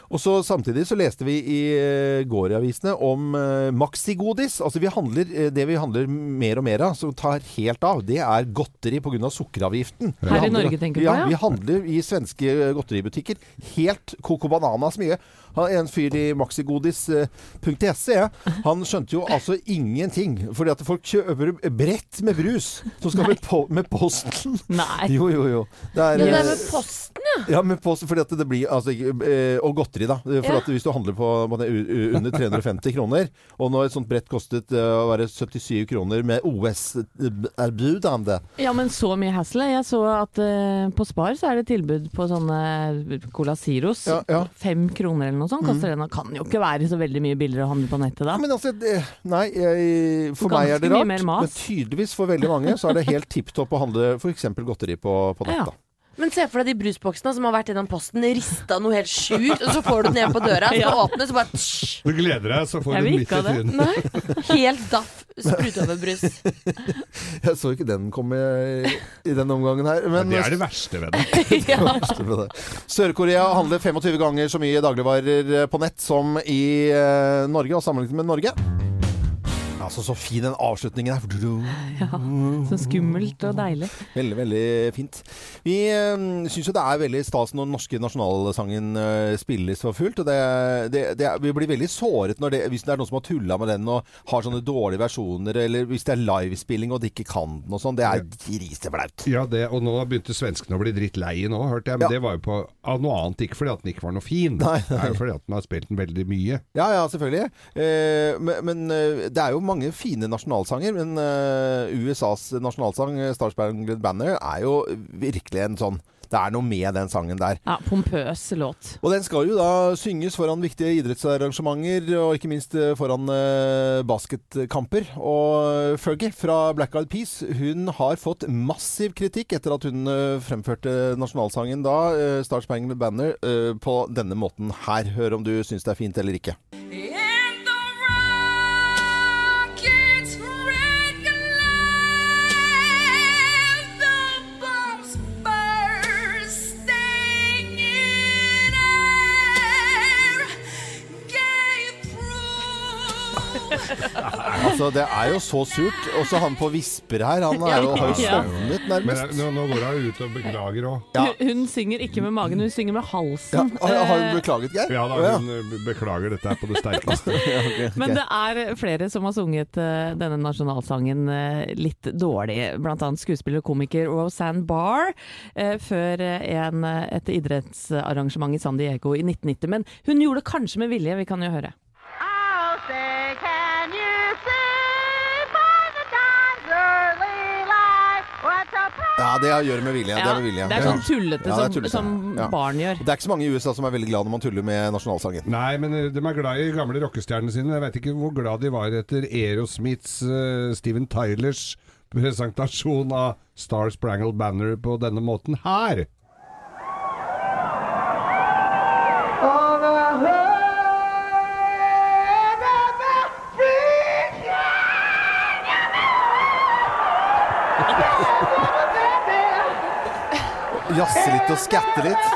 [SPEAKER 1] Og så Samtidig så leste vi i eh, går i avisene om eh, maxigodis. Altså vi handler, eh, det vi handler mer og mer av, som tar helt av, det er godteri pga. sukkeravgiften. Vi
[SPEAKER 2] Her i
[SPEAKER 1] handler-
[SPEAKER 2] Norge tenker du
[SPEAKER 1] ja,
[SPEAKER 2] på, ja?
[SPEAKER 1] Vi handler i svenske eh, godteributikker helt Coco Bananas mye. Han- En fyr i eh, maxigodis.se, E, han skjønte jo altså ingenting. Fordi at folk kjøper brett med brus som skal med, po med posten.
[SPEAKER 2] Nei.
[SPEAKER 1] Jo, jo, jo. Det er,
[SPEAKER 3] Men det
[SPEAKER 1] eh,
[SPEAKER 3] er med posten, ja.
[SPEAKER 1] ja, men post, fordi at det blir altså, ikke- eh, Og godteri, da. For
[SPEAKER 3] Ja.
[SPEAKER 1] at hvis du handler på, på det u- u- under 350 kroner, og når et sånt brett kostet eh, å være 77 kroner med eh, OS-erbudende
[SPEAKER 2] Ja, men så mye hassle. Jeg så at eh, på Spar så er det tilbud på sånne eh, Cola Ziros.
[SPEAKER 1] Ja, ja. Mm.
[SPEAKER 2] Fem kroner eller noe sånt koster den. Og kan jo ikke være så veldig mye billigere å handle på nettet da.
[SPEAKER 1] Men altså, det, nei, jeg, for meg er det
[SPEAKER 2] Ganske mye
[SPEAKER 1] rart.
[SPEAKER 2] mer mas.
[SPEAKER 1] Men tydeligvis for veldig mange så er det helt tipp topp å handle f.eks. godteri på, på nett.
[SPEAKER 2] Ja.
[SPEAKER 1] da.
[SPEAKER 3] Men se for deg de brusboksene som har vært gjennom posten, rista noe helt sjukt, og så får du den ned på døra, så
[SPEAKER 2] Ja.
[SPEAKER 3] åpner, så bare tsj,
[SPEAKER 4] Du gleder deg, så får
[SPEAKER 2] Jeg
[SPEAKER 4] du
[SPEAKER 2] vil
[SPEAKER 4] midt i
[SPEAKER 2] ikke ha det.
[SPEAKER 4] trynet.
[SPEAKER 3] Nei. Helt daff sprutøverbrus.
[SPEAKER 1] Jeg så ikke den komme i, i den omgangen her. Men,
[SPEAKER 4] Det er det verste ved det.
[SPEAKER 1] Sør-Korea handler 25 ganger så mye dagligvarer eh, på nett som i eh, Norge, og sammenlignet med Norge. Altså, så fin den avslutningen er.
[SPEAKER 2] Så skummelt og deilig.
[SPEAKER 1] Veldig, veldig fint. Vi øh, syns jo det er veldig stas når den norske nasjonalsangen øh, spilles for fullt. Og det, det, det, er- vi blir veldig såret når det, hvis det er noen som har tulla med den og har sånne dårlige versjoner, eller hvis det er livespilling og de ikke kan den og sånn. Det er griseflaut.
[SPEAKER 4] Ja, det, og nå begynte svenskene å bli drittlei nå, hørte jeg. Men
[SPEAKER 1] Ja.
[SPEAKER 4] det var jo på, av noe annet, ikke fordi at den ikke var noe fin.
[SPEAKER 1] Nei,
[SPEAKER 4] Det er jo fordi at den har spilt den veldig mye.
[SPEAKER 1] Ja, ja, selvfølgelig. Eh, men men eh, det er jo mange fine nasjonalsanger. Men eh, USAs nasjonalsang, eh, 'Star Spangled Banner', er jo virkelig en sånn Det er noe med den sangen der.
[SPEAKER 2] Ja, pompøs låt.
[SPEAKER 1] Og den skal jo da synges foran viktige idrettsarrangementer, og ikke minst eh, foran eh, basketkamper. Og eh, Fergie fra Black Eyed Peas, hun har fått massiv kritikk etter at hun eh, fremførte nasjonalsangen da, eh, 'Star Spangled Banner', eh, på denne måten her. Hør om du syns det er fint eller ikke.
[SPEAKER 7] And the rockets regulate the bombs bursting in air. Gave proof
[SPEAKER 1] Altså, Altså, det er jo så surt. Også han på visper her, han er jo, har jo
[SPEAKER 2] Ja.
[SPEAKER 1] sovnet
[SPEAKER 4] Men eh,
[SPEAKER 1] nærmest.
[SPEAKER 4] nå, nå går hun ut og beklager òg.
[SPEAKER 1] Ja.
[SPEAKER 2] Hun, hun synger ikke med magen, hun synger med
[SPEAKER 1] Ja,
[SPEAKER 2] halsen.
[SPEAKER 1] har har hun
[SPEAKER 2] Eh,
[SPEAKER 1] beklaget, Geir?
[SPEAKER 4] Ja
[SPEAKER 1] Å,
[SPEAKER 4] da, hun eh, beklager dette her på det sterkeste.
[SPEAKER 2] Men det er flere som har sunget eh, denne nasjonalsangen eh, litt dårlig. Blant annet skuespiller og komiker Roseanne Barr eh, før eh, en, eh, et idrettsarrangement i San Diego i 1990. Men hun gjorde det kanskje med vilje, vi kan jo høre.
[SPEAKER 7] I'll say, can you see by the dawn's early light what the promise
[SPEAKER 1] Ja, det gjør det med vilje. Det er med vilje.
[SPEAKER 2] det er
[SPEAKER 1] Ja.
[SPEAKER 2] sånn tullete
[SPEAKER 1] Ja, det er
[SPEAKER 2] som,
[SPEAKER 1] tullete.
[SPEAKER 2] som
[SPEAKER 1] Ja.
[SPEAKER 2] barn gjør.
[SPEAKER 1] Det er ikke så mange i USA som er veldig glad når man tuller med nasjonalsangen.
[SPEAKER 4] Nei, men eh, de er glad i gamle rockestjernene sine. Jeg veit ikke hvor glad de var etter Aerosmiths, eh, Steven Tylers presentasjon av Star Sprangled Banner på denne måten her.
[SPEAKER 1] Jazze litt og skatte litt.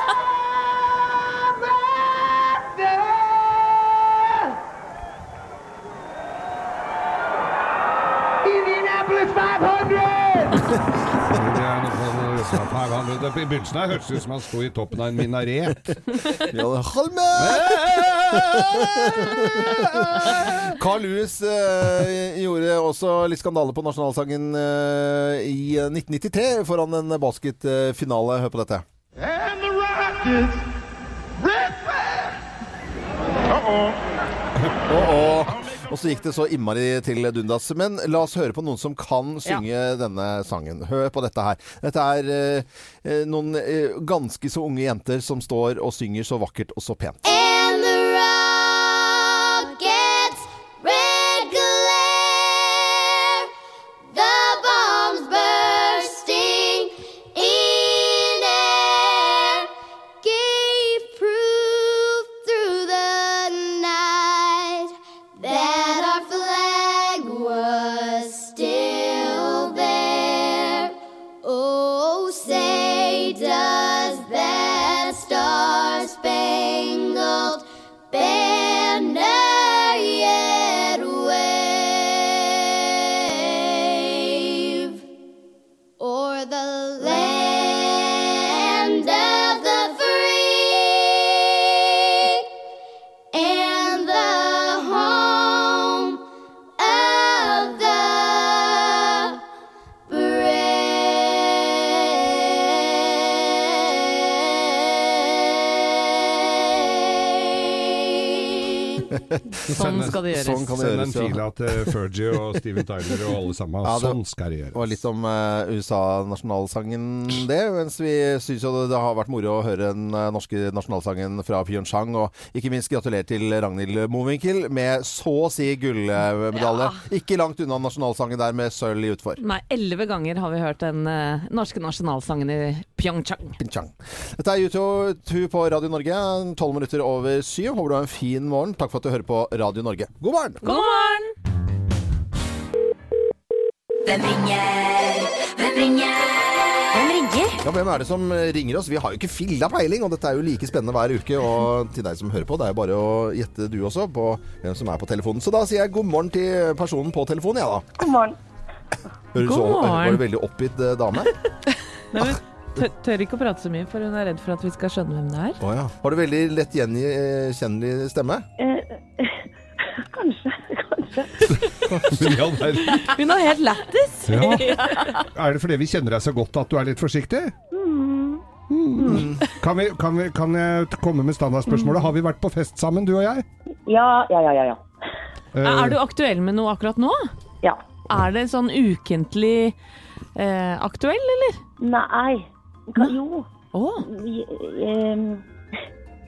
[SPEAKER 4] Det er noe sånn, eh, på USA 500. Det- I begynnelsen her hørtes det ut som han sto i toppen av en minaret.
[SPEAKER 1] Ja, det- Holme! Carl Lewis eh, gjorde også litt skandale på nasjonalsangen eh, i 1993 foran en basketfinale. Hør på dette.
[SPEAKER 5] And the Rockets, red flag. Uh-oh.
[SPEAKER 1] Og, og så gikk det så innmari til dundas. Men la oss høre på noen som kan synge denne sangen. Hør på dette her. Dette er eh, eh, noen eh, ganske så unge jenter som står og synger så vakkert og så pent.
[SPEAKER 8] And the rockets red glare, the bombs bursting in air, gave proof through the night that our flag was still there. Oh, say does that star spangled banner yet wave o'er the land of the free and the home of the brave.
[SPEAKER 2] Sånn skal det gjøres.
[SPEAKER 1] Sånn kan det
[SPEAKER 4] Send en
[SPEAKER 1] gjøres. Ja.
[SPEAKER 4] fila til Fergie og Steven Tyler og alle sammen.
[SPEAKER 1] Ja, det-
[SPEAKER 4] Sånn skal det gjøres.
[SPEAKER 1] Og litt om eh, USA-nasjonalsangen det, mens vi syns jo det, det har vært moro å høre den eh, norske nasjonalsangen fra Pyeongchang. Og ikke minst gratulerer til Ragnhild Mowinckel med så å si gullmedalje. Ikke langt unna nasjonalsangen der med sølv i utfor.
[SPEAKER 2] Nei, elleve ganger har vi hørt den eh, norske nasjonalsangen i Pyeongchang.
[SPEAKER 1] Pyeongchang. Dette er U2 på Radio Norge, 12 minutter over syv. Håper du har en fin morgen. Takk for at du hører på Radio Norge. God morgen!
[SPEAKER 2] God morgen!
[SPEAKER 7] Hvem ringer? Hvem ringer? Hvem ringer?
[SPEAKER 1] Ja, Hvem er det som ringer oss? Vi har jo ikke filla peiling, og dette er jo like spennende hver uke. Og til deg som hører på, det er jo bare å gjette du også på hvem som er på telefonen. Så da sier jeg god morgen til personen på telefonen, jeg ja, da.
[SPEAKER 6] God morgen.
[SPEAKER 1] Høres
[SPEAKER 2] God
[SPEAKER 1] over-
[SPEAKER 2] morgen.
[SPEAKER 1] Var det veldig oppgitt eh, dame?
[SPEAKER 2] Nei, men, tør, tør ikke å prate så mye, for hun er redd for at vi skal skjønne hvem det er.
[SPEAKER 1] Å ja. Har du veldig lett gjenkjennelig stemme?
[SPEAKER 6] Eh, kanskje, kanskje.
[SPEAKER 4] Ja, det er-
[SPEAKER 3] Hun har helt lættis.
[SPEAKER 4] Ja. Er det fordi vi kjenner deg så godt at du er litt forsiktig? Mm. Kan, vi, kan, vi, kan jeg t- komme med standardspørsmålet? Har vi vært på fest sammen, du og jeg?
[SPEAKER 6] Ja, ja, ja, ja. ja.
[SPEAKER 4] Eh,
[SPEAKER 2] Er du aktuell med noe akkurat nå?
[SPEAKER 6] ja.
[SPEAKER 2] Er det sånn ukentlig eh, aktuell, eller?
[SPEAKER 6] Nei. Ka, jo.
[SPEAKER 2] Å,
[SPEAKER 6] Vi, ehm,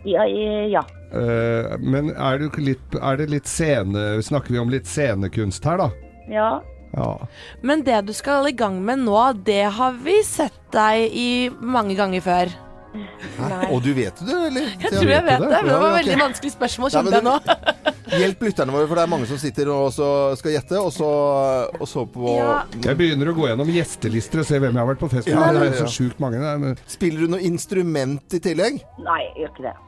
[SPEAKER 6] ja, eh, ja.
[SPEAKER 4] eh, men er, du litt, er det litt scene... Snakker vi om litt scenekunst her, da?
[SPEAKER 6] Ja.
[SPEAKER 4] Ja.
[SPEAKER 3] Men det du skal i gang med nå, det har vi sett deg i mange ganger før.
[SPEAKER 1] Hæ? Og du vet det, eller?
[SPEAKER 3] Jeg tror jeg vet det, men det var
[SPEAKER 1] Ja, ok.
[SPEAKER 3] veldig vanskelig spørsmål.
[SPEAKER 1] Nei, men
[SPEAKER 3] Skjønte jeg nå?
[SPEAKER 1] Hjelp lytterne våre, for det er mange som sitter og også skal gjette, og så, og så på
[SPEAKER 3] Ja.
[SPEAKER 4] Jeg begynner å gå gjennom gjestelister og se hvem jeg har vært på fest med.
[SPEAKER 1] Ja,
[SPEAKER 4] det
[SPEAKER 1] ja,
[SPEAKER 4] er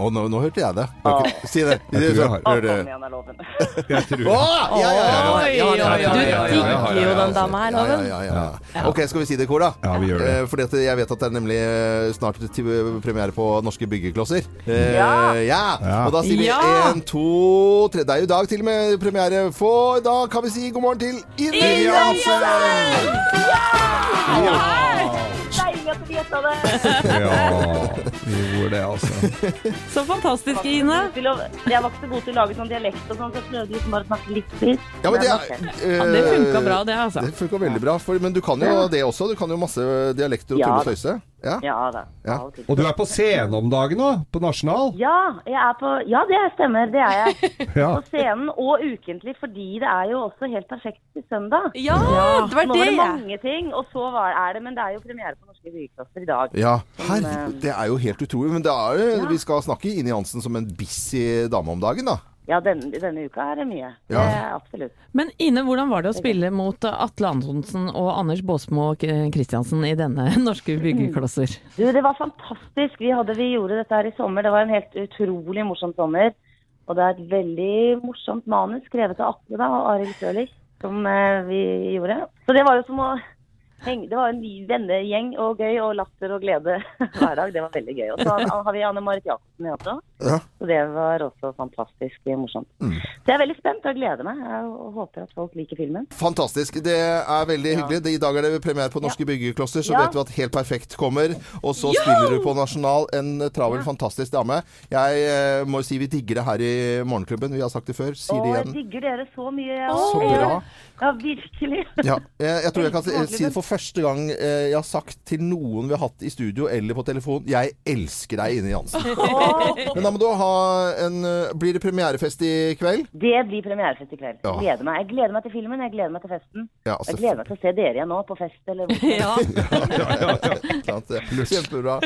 [SPEAKER 1] Å, nå, nå hørte jeg det. Det var ikke- Si det. Si det
[SPEAKER 4] Jeg tror jeg
[SPEAKER 1] sånn.
[SPEAKER 4] har-
[SPEAKER 1] Hør det.
[SPEAKER 6] Kom igjen, er loven.
[SPEAKER 4] Jeg tror
[SPEAKER 1] Å, ja, ja, ja, ja.
[SPEAKER 2] Oi, oi,
[SPEAKER 4] ja, ja,
[SPEAKER 2] oi.
[SPEAKER 4] ja,
[SPEAKER 3] Du
[SPEAKER 4] ja,
[SPEAKER 3] digger jo
[SPEAKER 4] ja,
[SPEAKER 3] den dama her,
[SPEAKER 1] Ja, ja,
[SPEAKER 3] Loven.
[SPEAKER 1] ja, ja, ja. Ok, skal vi si det i kor, da?
[SPEAKER 4] Ja, vi gjør det.
[SPEAKER 1] Eh, Fordi at jeg vet at det er nemlig eh, snart til premiere på Norske byggeklosser. Eh,
[SPEAKER 6] Ja.
[SPEAKER 1] ja!
[SPEAKER 4] Ja.
[SPEAKER 1] Og da sier vi
[SPEAKER 2] Ja.
[SPEAKER 1] én, to, tre Det er jo i dag til og med premiere, for da kan vi si god morgen til Ida Jansen!
[SPEAKER 6] Deilig at du gjetta det.
[SPEAKER 4] Ja, vi gjorde det, altså.
[SPEAKER 2] Så fantastisk, Ine.
[SPEAKER 6] Jeg var ikke så god til å lage sånn dialekt og sånn, så jeg prøvde liksom bare å snakke litt fritt.
[SPEAKER 1] Ja, men det,
[SPEAKER 6] Men
[SPEAKER 1] er-
[SPEAKER 2] Ja, det funka bra, det,
[SPEAKER 6] Eh,
[SPEAKER 2] altså.
[SPEAKER 1] Det funka veldig bra. For, men du kan jo det også. Du kan jo masse dialekter og
[SPEAKER 6] Ja.
[SPEAKER 1] tulle og tøyse. Ja.
[SPEAKER 6] Ja da.
[SPEAKER 1] Ja.
[SPEAKER 6] av og til.
[SPEAKER 4] Og du er på scenen om dagen òg, på Nasjonal.
[SPEAKER 6] Ja, jeg er på, ja, det stemmer. Det er jeg.
[SPEAKER 4] Ja.
[SPEAKER 6] På scenen og ukentlig, fordi det er jo også helt perfekt til søndag.
[SPEAKER 3] Ja, det var
[SPEAKER 6] Nå var
[SPEAKER 3] det.
[SPEAKER 6] det
[SPEAKER 3] ja.
[SPEAKER 6] mange ting, og så var, er det, men det er jo premiere på Norske Bygeklosser i dag.
[SPEAKER 1] Ja, her,
[SPEAKER 6] eh,
[SPEAKER 1] Det er jo helt utrolig. Men det er, jo- vi skal snakke Ine Jansen som en busy dame om dagen, da.
[SPEAKER 6] Ja, denne, denne uka er det mye.
[SPEAKER 1] Ja.
[SPEAKER 6] Det er absolutt.
[SPEAKER 2] Men Ine, hvordan var det å spille mot Atle Antonsen og Anders Baasmo Christiansen i denne norske byggeklosser?
[SPEAKER 6] Du, det var fantastisk. Vi, hadde, vi gjorde dette her i sommer. Det var en helt utrolig morsom sommer. Og det er et veldig morsomt manus skrevet av Atle da, og Arild Frølich som eh, vi gjorde. Så det var jo som å henge Det var en ny vennegjeng og gøy og latter og glede hver dag. Det var veldig gøy. Og så har har vi Anne Marit Jacobsen med også.
[SPEAKER 1] Ja. Mm.
[SPEAKER 6] Så det var også fantastisk morsomt. Så jeg er veldig spent og gleder meg. Jeg håper at folk liker filmen.
[SPEAKER 1] Fantastisk. Det er veldig hyggelig. Det- I dag er det premiere på Norske byggeklosser, så
[SPEAKER 6] Ja.
[SPEAKER 1] vet du at Helt perfekt kommer. Og så spiller du på Nasjonal, en travel, fantastisk dame. Jeg eh, må si vi digger det her i Morgenklubben. Vi har sagt det før. Sier
[SPEAKER 6] Og
[SPEAKER 1] det
[SPEAKER 6] jeg
[SPEAKER 1] igjen.
[SPEAKER 6] digger dere så mye.
[SPEAKER 1] Så bra.
[SPEAKER 6] Ja, virkelig.
[SPEAKER 1] Ja, jeg, jeg tror jeg kan si- si det for første gang eh, jeg har sagt til noen vi har hatt i studio eller på telefon Jeg elsker deg, Ine Jansen. Men da må du ha en eh, Blir det premierefest i kveld?
[SPEAKER 6] Det blir premierefest i kveld.
[SPEAKER 1] Ja.
[SPEAKER 6] Gleder meg. Jeg gleder meg til filmen, jeg gleder meg til festen.
[SPEAKER 1] Ja, altså,
[SPEAKER 6] Jeg gleder meg til å se dere igjen nå på fest. Eller hvor.
[SPEAKER 2] Ja,
[SPEAKER 1] sant, det. Kjempebra.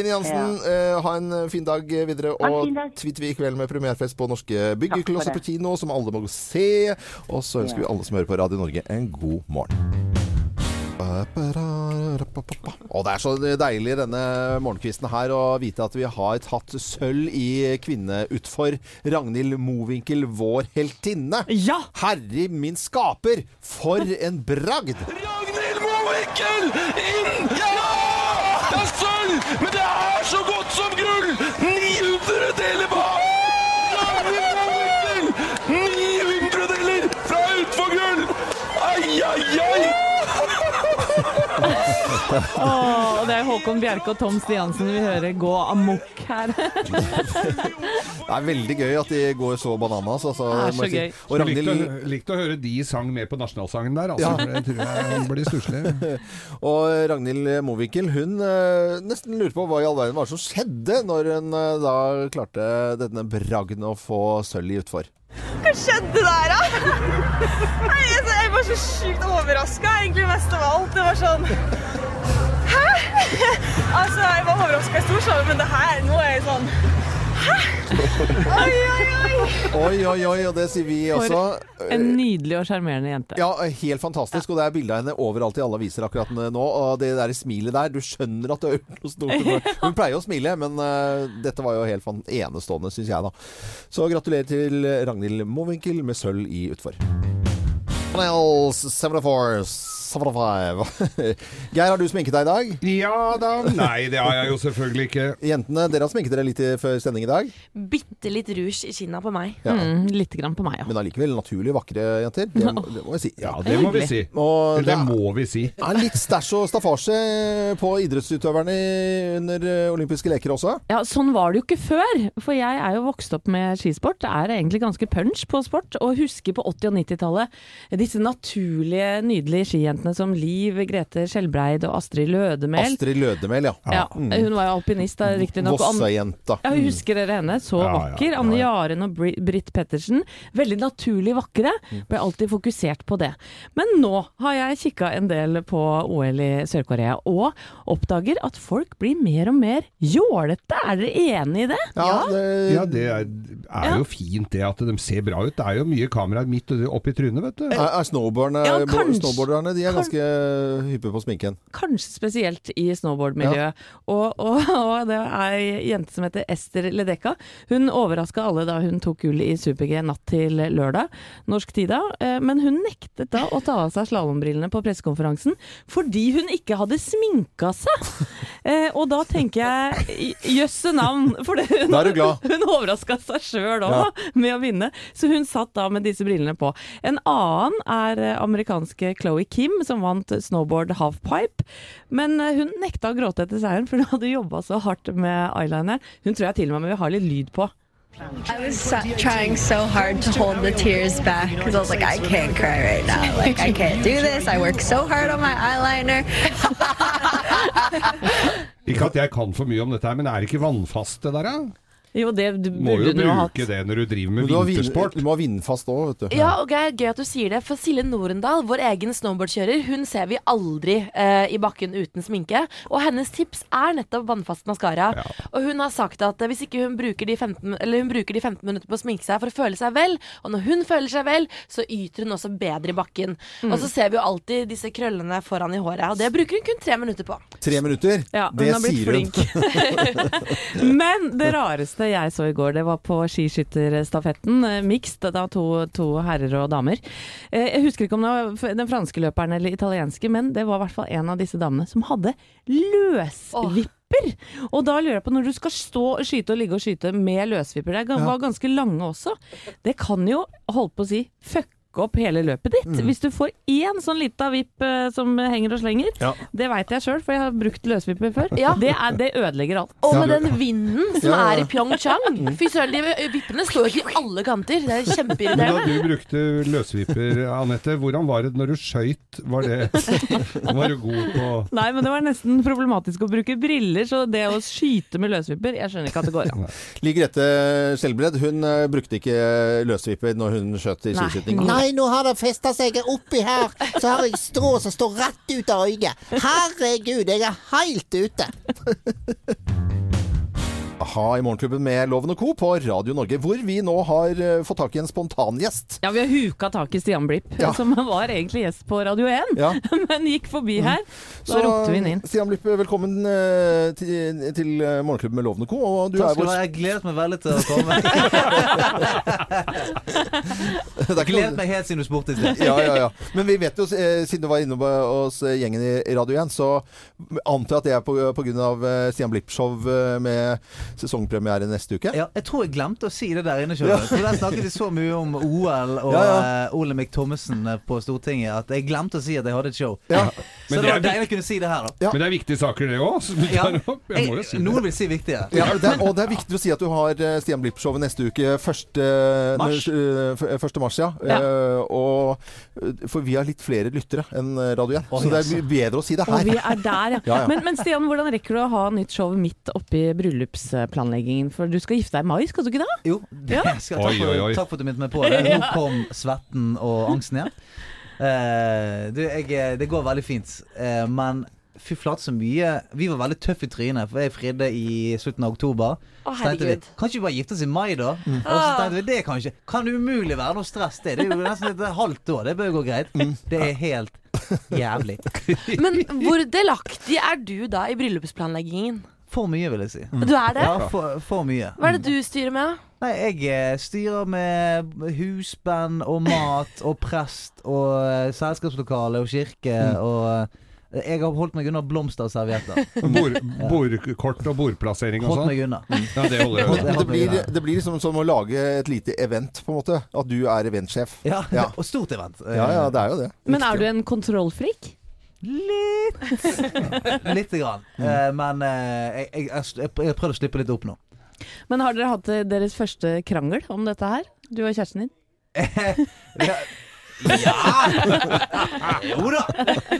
[SPEAKER 1] Ine Jansen, eh, ha en fin dag videre.
[SPEAKER 6] en
[SPEAKER 1] Og
[SPEAKER 6] fin dag.
[SPEAKER 1] tvitter vi i kveld med premierefest på Norske
[SPEAKER 6] Takk
[SPEAKER 1] byggeklosser
[SPEAKER 6] for
[SPEAKER 1] på
[SPEAKER 6] det.
[SPEAKER 1] kino, som alle må gå og se. Og så ønsker vi alle som hører på Radio Norge, en god morgen. Og det er så deilig denne morgenkvisten her å vite at vi har tatt sølv i kvinneutfor. Ragnhild Mowinckel, vår heltinne.
[SPEAKER 2] Ja!
[SPEAKER 1] Herre min skaper, for en bragd!
[SPEAKER 5] Ragnhild Mowinckel inn! Ja! Det er sølv, men det er så godt som gull! 900 deler bak! Ragnhild Mowinckel! 900 deler fra utfor gull! Ai, ai, ai!
[SPEAKER 6] Mm.
[SPEAKER 2] Åh, det er Håkon Bjerke og Tom Stiansen vi hører gå amok her.
[SPEAKER 1] Det er veldig gøy at de går så bananas. Altså,
[SPEAKER 2] Det er
[SPEAKER 1] må jeg
[SPEAKER 2] så
[SPEAKER 1] si.
[SPEAKER 2] gøy.
[SPEAKER 1] Og
[SPEAKER 4] Likte
[SPEAKER 1] Ragnhild,
[SPEAKER 4] å, likte å høre de sang med på nasjonalsangen der, altså. for Det tror jeg blir stusslig.
[SPEAKER 1] og Ragnhild Mowinckel hun eh, nesten lurer på hva i all verden var det som skjedde når hun eh, da klarte denne bragden å få sølv i utfor.
[SPEAKER 6] Hva skjedde der, da? Nei, altså, jeg var så sjukt overraska, egentlig mest av alt. Det var sånn Hæ? Altså, jeg var overraska i stor sal, men det her Nå er jeg sånn Hæ? Oi, oi, oi.
[SPEAKER 1] Oi, oi, oi, og det sier vi også.
[SPEAKER 2] En nydelig og sjarmerende jente.
[SPEAKER 1] Ja, helt fantastisk. Og det er bilde av henne overalt i alle aviser akkurat nå. Og det der smilet der, du skjønner at det er noe stort. Hun pleier jo å smile, men eh, dette var jo helt fan- enestående, syns jeg, da. Så gratulerer til Ragnhild Mowinckel med sølv i utfor. Panels 74, 75. Geir, har du sminket deg i dag?
[SPEAKER 4] Ja da. Nei, det har jeg jo selvfølgelig ikke.
[SPEAKER 1] Jentene, dere har sminket dere litt i- før sending i dag.
[SPEAKER 3] Bitte litt rouge i kinna på meg.
[SPEAKER 1] Ja.
[SPEAKER 2] Mm, litt grann på meg, ja.
[SPEAKER 1] Men allikevel naturlig vakre jenter. Det, må- det må jeg si.
[SPEAKER 4] Ja, det må vi si.
[SPEAKER 1] Og
[SPEAKER 4] Eller
[SPEAKER 1] det
[SPEAKER 4] det
[SPEAKER 1] er-
[SPEAKER 4] må vi si.
[SPEAKER 1] Det er litt stæsj og staffasje på idrettsutøverne under eh, olympiske leker også.
[SPEAKER 2] Ja, Sånn var det jo ikke før, for jeg er jo vokst opp med skisport. Det er egentlig ganske punch på sport, og husker på 80- og 90-tallet disse naturlige, nydelige skijentene som Liv, Grete Skjelbreid og Astrid Lødemel.
[SPEAKER 1] Astrid Lødemel, ja. Mm.
[SPEAKER 2] Ja, hun var jo alpinist da, riktignok. og Ann-
[SPEAKER 1] Vossajenta.
[SPEAKER 2] Ja, husker dere henne? Så
[SPEAKER 4] Ja, ja,
[SPEAKER 2] vakker.
[SPEAKER 4] ja,
[SPEAKER 2] Anne
[SPEAKER 4] ja.
[SPEAKER 2] Jaren og Bri- Britt Pettersen. Veldig naturlig vakre.
[SPEAKER 4] Mm.
[SPEAKER 2] Ble alltid fokusert på det. Men nå har jeg kikka en del på OL i Sør-Korea, og oppdager at folk blir mer og mer jålete. Er dere enig i det?
[SPEAKER 1] Ja, det,
[SPEAKER 4] Ja, det er, er jo fint det at de ser bra ut. Det er jo mye kameraer midt oppi trynet, vet du.
[SPEAKER 1] Er, er snowboarderne,
[SPEAKER 2] Ja, kanskje.
[SPEAKER 1] snowboarderne de er er ganske hyppe på sminken.
[SPEAKER 2] kanskje spesielt i snowboardmiljøet. Og, og, og det er ei jente som heter Ester Ledekka. Hun overraska alle da hun tok gull i super-G natt til lørdag, norsk tid da. eh, Men hun nektet da å ta av seg slalåmbrillene på pressekonferansen fordi hun ikke hadde sminka seg. Eh, Og da tenker jeg i- jøsse navn, for det hun,
[SPEAKER 1] Da er du glad.
[SPEAKER 2] hun overraska seg sjøl òg med å vinne, så hun satt da med disse brillene på. En annen er eh, amerikanske Chloé Kim, som vant snowboard halfpipe. Men eh, hun nekta å gråte etter seieren, for hun hadde jobba så hardt med eyelineren. Hun tror jeg til og med vil ha litt lyd på.
[SPEAKER 9] I was so, trying so hard to hold the tears back because I was like, I can't cry right now. Like, I can't do this. I work so hard on my eyeliner.
[SPEAKER 4] Ikke at jeg kan for mye om dette her, men er det ikke vannfast det der, da?
[SPEAKER 2] Jo, det d-
[SPEAKER 4] Må jo
[SPEAKER 2] burde hun jo hatt.
[SPEAKER 4] bruke det når du driver med
[SPEAKER 1] Men du, har vin-
[SPEAKER 4] vintersport.
[SPEAKER 1] du må ha vindfast òg, vet du.
[SPEAKER 3] Ja, og det er Gøy at du sier det, for Silje Norendal, vår egen snowboardkjører, hun ser vi aldri eh, i bakken uten sminke. Og hennes tips er nettopp vannfast maskara.
[SPEAKER 4] Ja.
[SPEAKER 3] Og hun har sagt at eh, hvis ikke hun bruker, de 15, eller hun bruker de 15 minutter på å sminke seg for å føle seg vel, og når hun føler seg vel, så yter hun også bedre i bakken. Og så ser vi jo alltid disse krøllene foran i håret, og det bruker hun kun tre minutter på.
[SPEAKER 1] Tre minutter,
[SPEAKER 2] Ja,
[SPEAKER 1] det
[SPEAKER 2] hun har blitt
[SPEAKER 1] sier hun.
[SPEAKER 2] flink. Men det rareste jeg så i går, det var på skiskytterstafetten, eh, mixed, da to, to herrer og damer. Eh, Jeg husker ikke om det var f- den franske løperen eller italienske, men det var i hvert fall en av disse damene som hadde løsvipper. Og da lurer jeg på, når du skal stå og skyte og ligge og skyte med løsvipper, det er gan- var ganske lange også, det kan jo, holdt på å si, fucke opp hele løpet ditt.
[SPEAKER 1] Mm.
[SPEAKER 2] Hvis du får én sånn lita vipp eh, som henger og slenger,
[SPEAKER 1] Ja.
[SPEAKER 2] det veit jeg sjøl, for jeg har brukt løsvipper før.
[SPEAKER 3] Ja.
[SPEAKER 2] Det, er, det ødelegger alt.
[SPEAKER 3] Og
[SPEAKER 1] Ja,
[SPEAKER 3] med
[SPEAKER 1] du-
[SPEAKER 3] den vinden som
[SPEAKER 1] Ja, ja,
[SPEAKER 3] er
[SPEAKER 1] ja.
[SPEAKER 3] i Pyeongchang Fy søren, de vippene står jo ikke i alle kanter. Det er
[SPEAKER 4] Men
[SPEAKER 3] kjempeirriterende.
[SPEAKER 4] da du brukte løsvipper, Anette, hvordan var det når du skøyt? Var, det- var du god på
[SPEAKER 2] Nei, men det var nesten problematisk å bruke briller, så det å skyte med løsvipper, jeg skjønner ikke at det går an.
[SPEAKER 1] Liv Grete Skjelbred hun eh, brukte ikke løsvipper når hun skjøt i
[SPEAKER 2] Nei.
[SPEAKER 1] skiskyting.
[SPEAKER 10] Nei, nå har det festa seg oppi her, så har jeg strå som står rett ut av øyet. Herregud, jeg er helt ute.
[SPEAKER 1] Ha i Morgenklubben med Loven og Co. på Radio Norge, hvor vi nå har eh, fått tak i en spontangjest.
[SPEAKER 2] Ja, vi har huka tak i Stian Blipp,
[SPEAKER 1] Ja.
[SPEAKER 2] som var egentlig gjest på Radio 1,
[SPEAKER 1] Ja. Mm.
[SPEAKER 2] men gikk forbi her. Da ropte vi han inn.
[SPEAKER 1] Stian Blipp, velkommen eh, til, til eh, Morgenklubben med Loven og Co. Og du
[SPEAKER 11] Takk
[SPEAKER 1] er
[SPEAKER 11] skal du
[SPEAKER 1] vår
[SPEAKER 11] ha. Jeg gledet meg veldig til å komme.
[SPEAKER 1] Det er ikke noe-
[SPEAKER 11] Gledet meg helt siden du spurte i sted.
[SPEAKER 1] ja, ja, ja. Men vi vet jo, eh, siden du var inne på- hos eh, gjengen i i Radio 1, så antar jeg at det er på, på grunn av eh, Stian Blipp-show eh, med sesongpremiere neste uke.
[SPEAKER 11] Ja, jeg tror jeg glemte å si det der inne. skjønner du. For Der snakket vi så mye om OL og
[SPEAKER 1] Ja,
[SPEAKER 11] eh, Olemic Thommessen eh, på Stortinget at jeg glemte å si at jeg hadde et show. Så
[SPEAKER 4] Men
[SPEAKER 11] det
[SPEAKER 4] det
[SPEAKER 11] var
[SPEAKER 4] er,
[SPEAKER 11] deilig å kunne si det her, da.
[SPEAKER 1] Ja.
[SPEAKER 4] men det er viktige saker, det òg.
[SPEAKER 11] Ja,
[SPEAKER 4] Jeg må jo si
[SPEAKER 11] jeg,
[SPEAKER 4] det.
[SPEAKER 11] noen vil si viktige.
[SPEAKER 1] Ja, det er, og det er viktig å si at du har eh, Stian Blipp-showet neste uke. eh, 1.
[SPEAKER 11] Mars.
[SPEAKER 1] mars, ja.
[SPEAKER 2] Ja.
[SPEAKER 1] Eh, og, eh, for vi har litt flere lyttere enn eh, Radio 1, så det er mye bedre å si det
[SPEAKER 2] Og vi
[SPEAKER 1] her.
[SPEAKER 2] er der, ja.
[SPEAKER 1] Ja, ja.
[SPEAKER 2] Men, men Stian, hvordan rekker du å ha nytt show midt oppi bryllupsplanleggingen? For du skal gifte deg i mai, skal du ikke det?
[SPEAKER 11] Jo, det
[SPEAKER 2] Ja.
[SPEAKER 11] skal, takk,
[SPEAKER 4] Oi, oi, oi.
[SPEAKER 11] For, takk for at du minnet meg på det. Nå kom svetten og angsten igjen. Eh, du, jeg, eh, det går veldig fint, eh, men fy flate så mye Vi var veldig tøffe i trynet, for jeg fridde i slutten av oktober.
[SPEAKER 3] Å,
[SPEAKER 11] Så tenkte vi,
[SPEAKER 3] herregud.
[SPEAKER 11] kan ikke vi bare gifte oss i mai, da? Og så tenkte vi, det kan ikke Kan det umulig være noe stress, det? Det er jo nesten et halvt år, det bør jo gå greit.
[SPEAKER 4] Mm.
[SPEAKER 11] Det er helt jævlig.
[SPEAKER 3] Men hvor delaktig er du da i bryllupsplanleggingen?
[SPEAKER 11] For mye, vil jeg si.
[SPEAKER 4] Mm.
[SPEAKER 3] Du er det?
[SPEAKER 11] Ja, for, for mye.
[SPEAKER 3] Hva er det du styrer med? da?
[SPEAKER 11] Nei, jeg eh, styrer med husband og mat og prest og eh, selskapslokale og kirke og eh, Jeg har holdt meg unna blomster og servietter.
[SPEAKER 4] Bord, bordkort og bordplassering og
[SPEAKER 11] Holdt
[SPEAKER 4] sånn.
[SPEAKER 11] meg unna.
[SPEAKER 4] Ja, det holder
[SPEAKER 11] Holdt-
[SPEAKER 4] jeg.
[SPEAKER 1] Men
[SPEAKER 11] jeg
[SPEAKER 1] det
[SPEAKER 11] holdt meg
[SPEAKER 1] blir,
[SPEAKER 11] unna.
[SPEAKER 1] det blir liksom som å lage et lite event, på en måte. At du er eventsjef.
[SPEAKER 11] Ja,
[SPEAKER 1] Ja.
[SPEAKER 11] og stort event. Eh,
[SPEAKER 1] Ja, ja, det er jo det.
[SPEAKER 2] Men er du en kontrollfrik?
[SPEAKER 11] Litt Lite grann.
[SPEAKER 4] Mm.
[SPEAKER 11] Eh, men eh, jeg, jeg, jeg, jeg prøver å slippe litt opp nå.
[SPEAKER 2] Men har dere hatt eh, deres første krangel om dette her? Du og kjæresten din?
[SPEAKER 11] Ja! Jo da!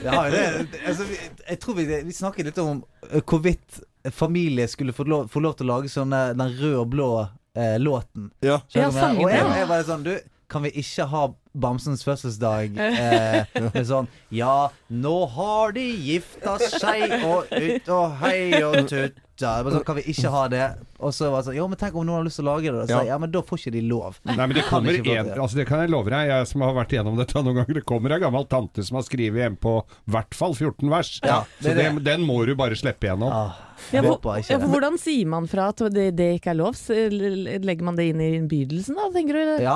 [SPEAKER 11] Ja, det, altså, vi- jeg tror vi, vi snakket litt om eh, hvorvidt familie skulle få lov, få lov til å lage sånne den røde og blå eh, låten.
[SPEAKER 1] Ja.
[SPEAKER 11] Skjønner
[SPEAKER 2] Ja,
[SPEAKER 11] du hva jeg mener?
[SPEAKER 2] sangen,
[SPEAKER 11] Og
[SPEAKER 2] ja.
[SPEAKER 11] jeg, jeg var litt sånn Du, kan vi ikke ha Bamsens fødselsdag eh, med sånn Ja, nå har de gifta seg, og ut og hei og tutt nekta. Jeg bare sånn, kan vi ikke ha det? Og så var det sånn Jo, men tenk om noen har lyst til å lage det? Da, så,
[SPEAKER 4] Ja.
[SPEAKER 11] jeg, ja, men da får ikke de lov.
[SPEAKER 4] Nei, men det
[SPEAKER 11] Kan
[SPEAKER 4] kommer
[SPEAKER 11] ikke få
[SPEAKER 4] en,
[SPEAKER 11] det.
[SPEAKER 4] altså det kan jeg love deg, jeg som har vært igjennom dette noen ganger. Det kommer ei gammel tante som har skrevet hjem på hvert fall 14 vers.
[SPEAKER 11] Ja,
[SPEAKER 4] så
[SPEAKER 11] det er
[SPEAKER 4] den- den må du bare slippe gjennom.
[SPEAKER 2] Ja, hvor, ja, for hvordan sier man fra at det, det ikke er lov? Så Legger man det inn i innbydelsen da, tenker du?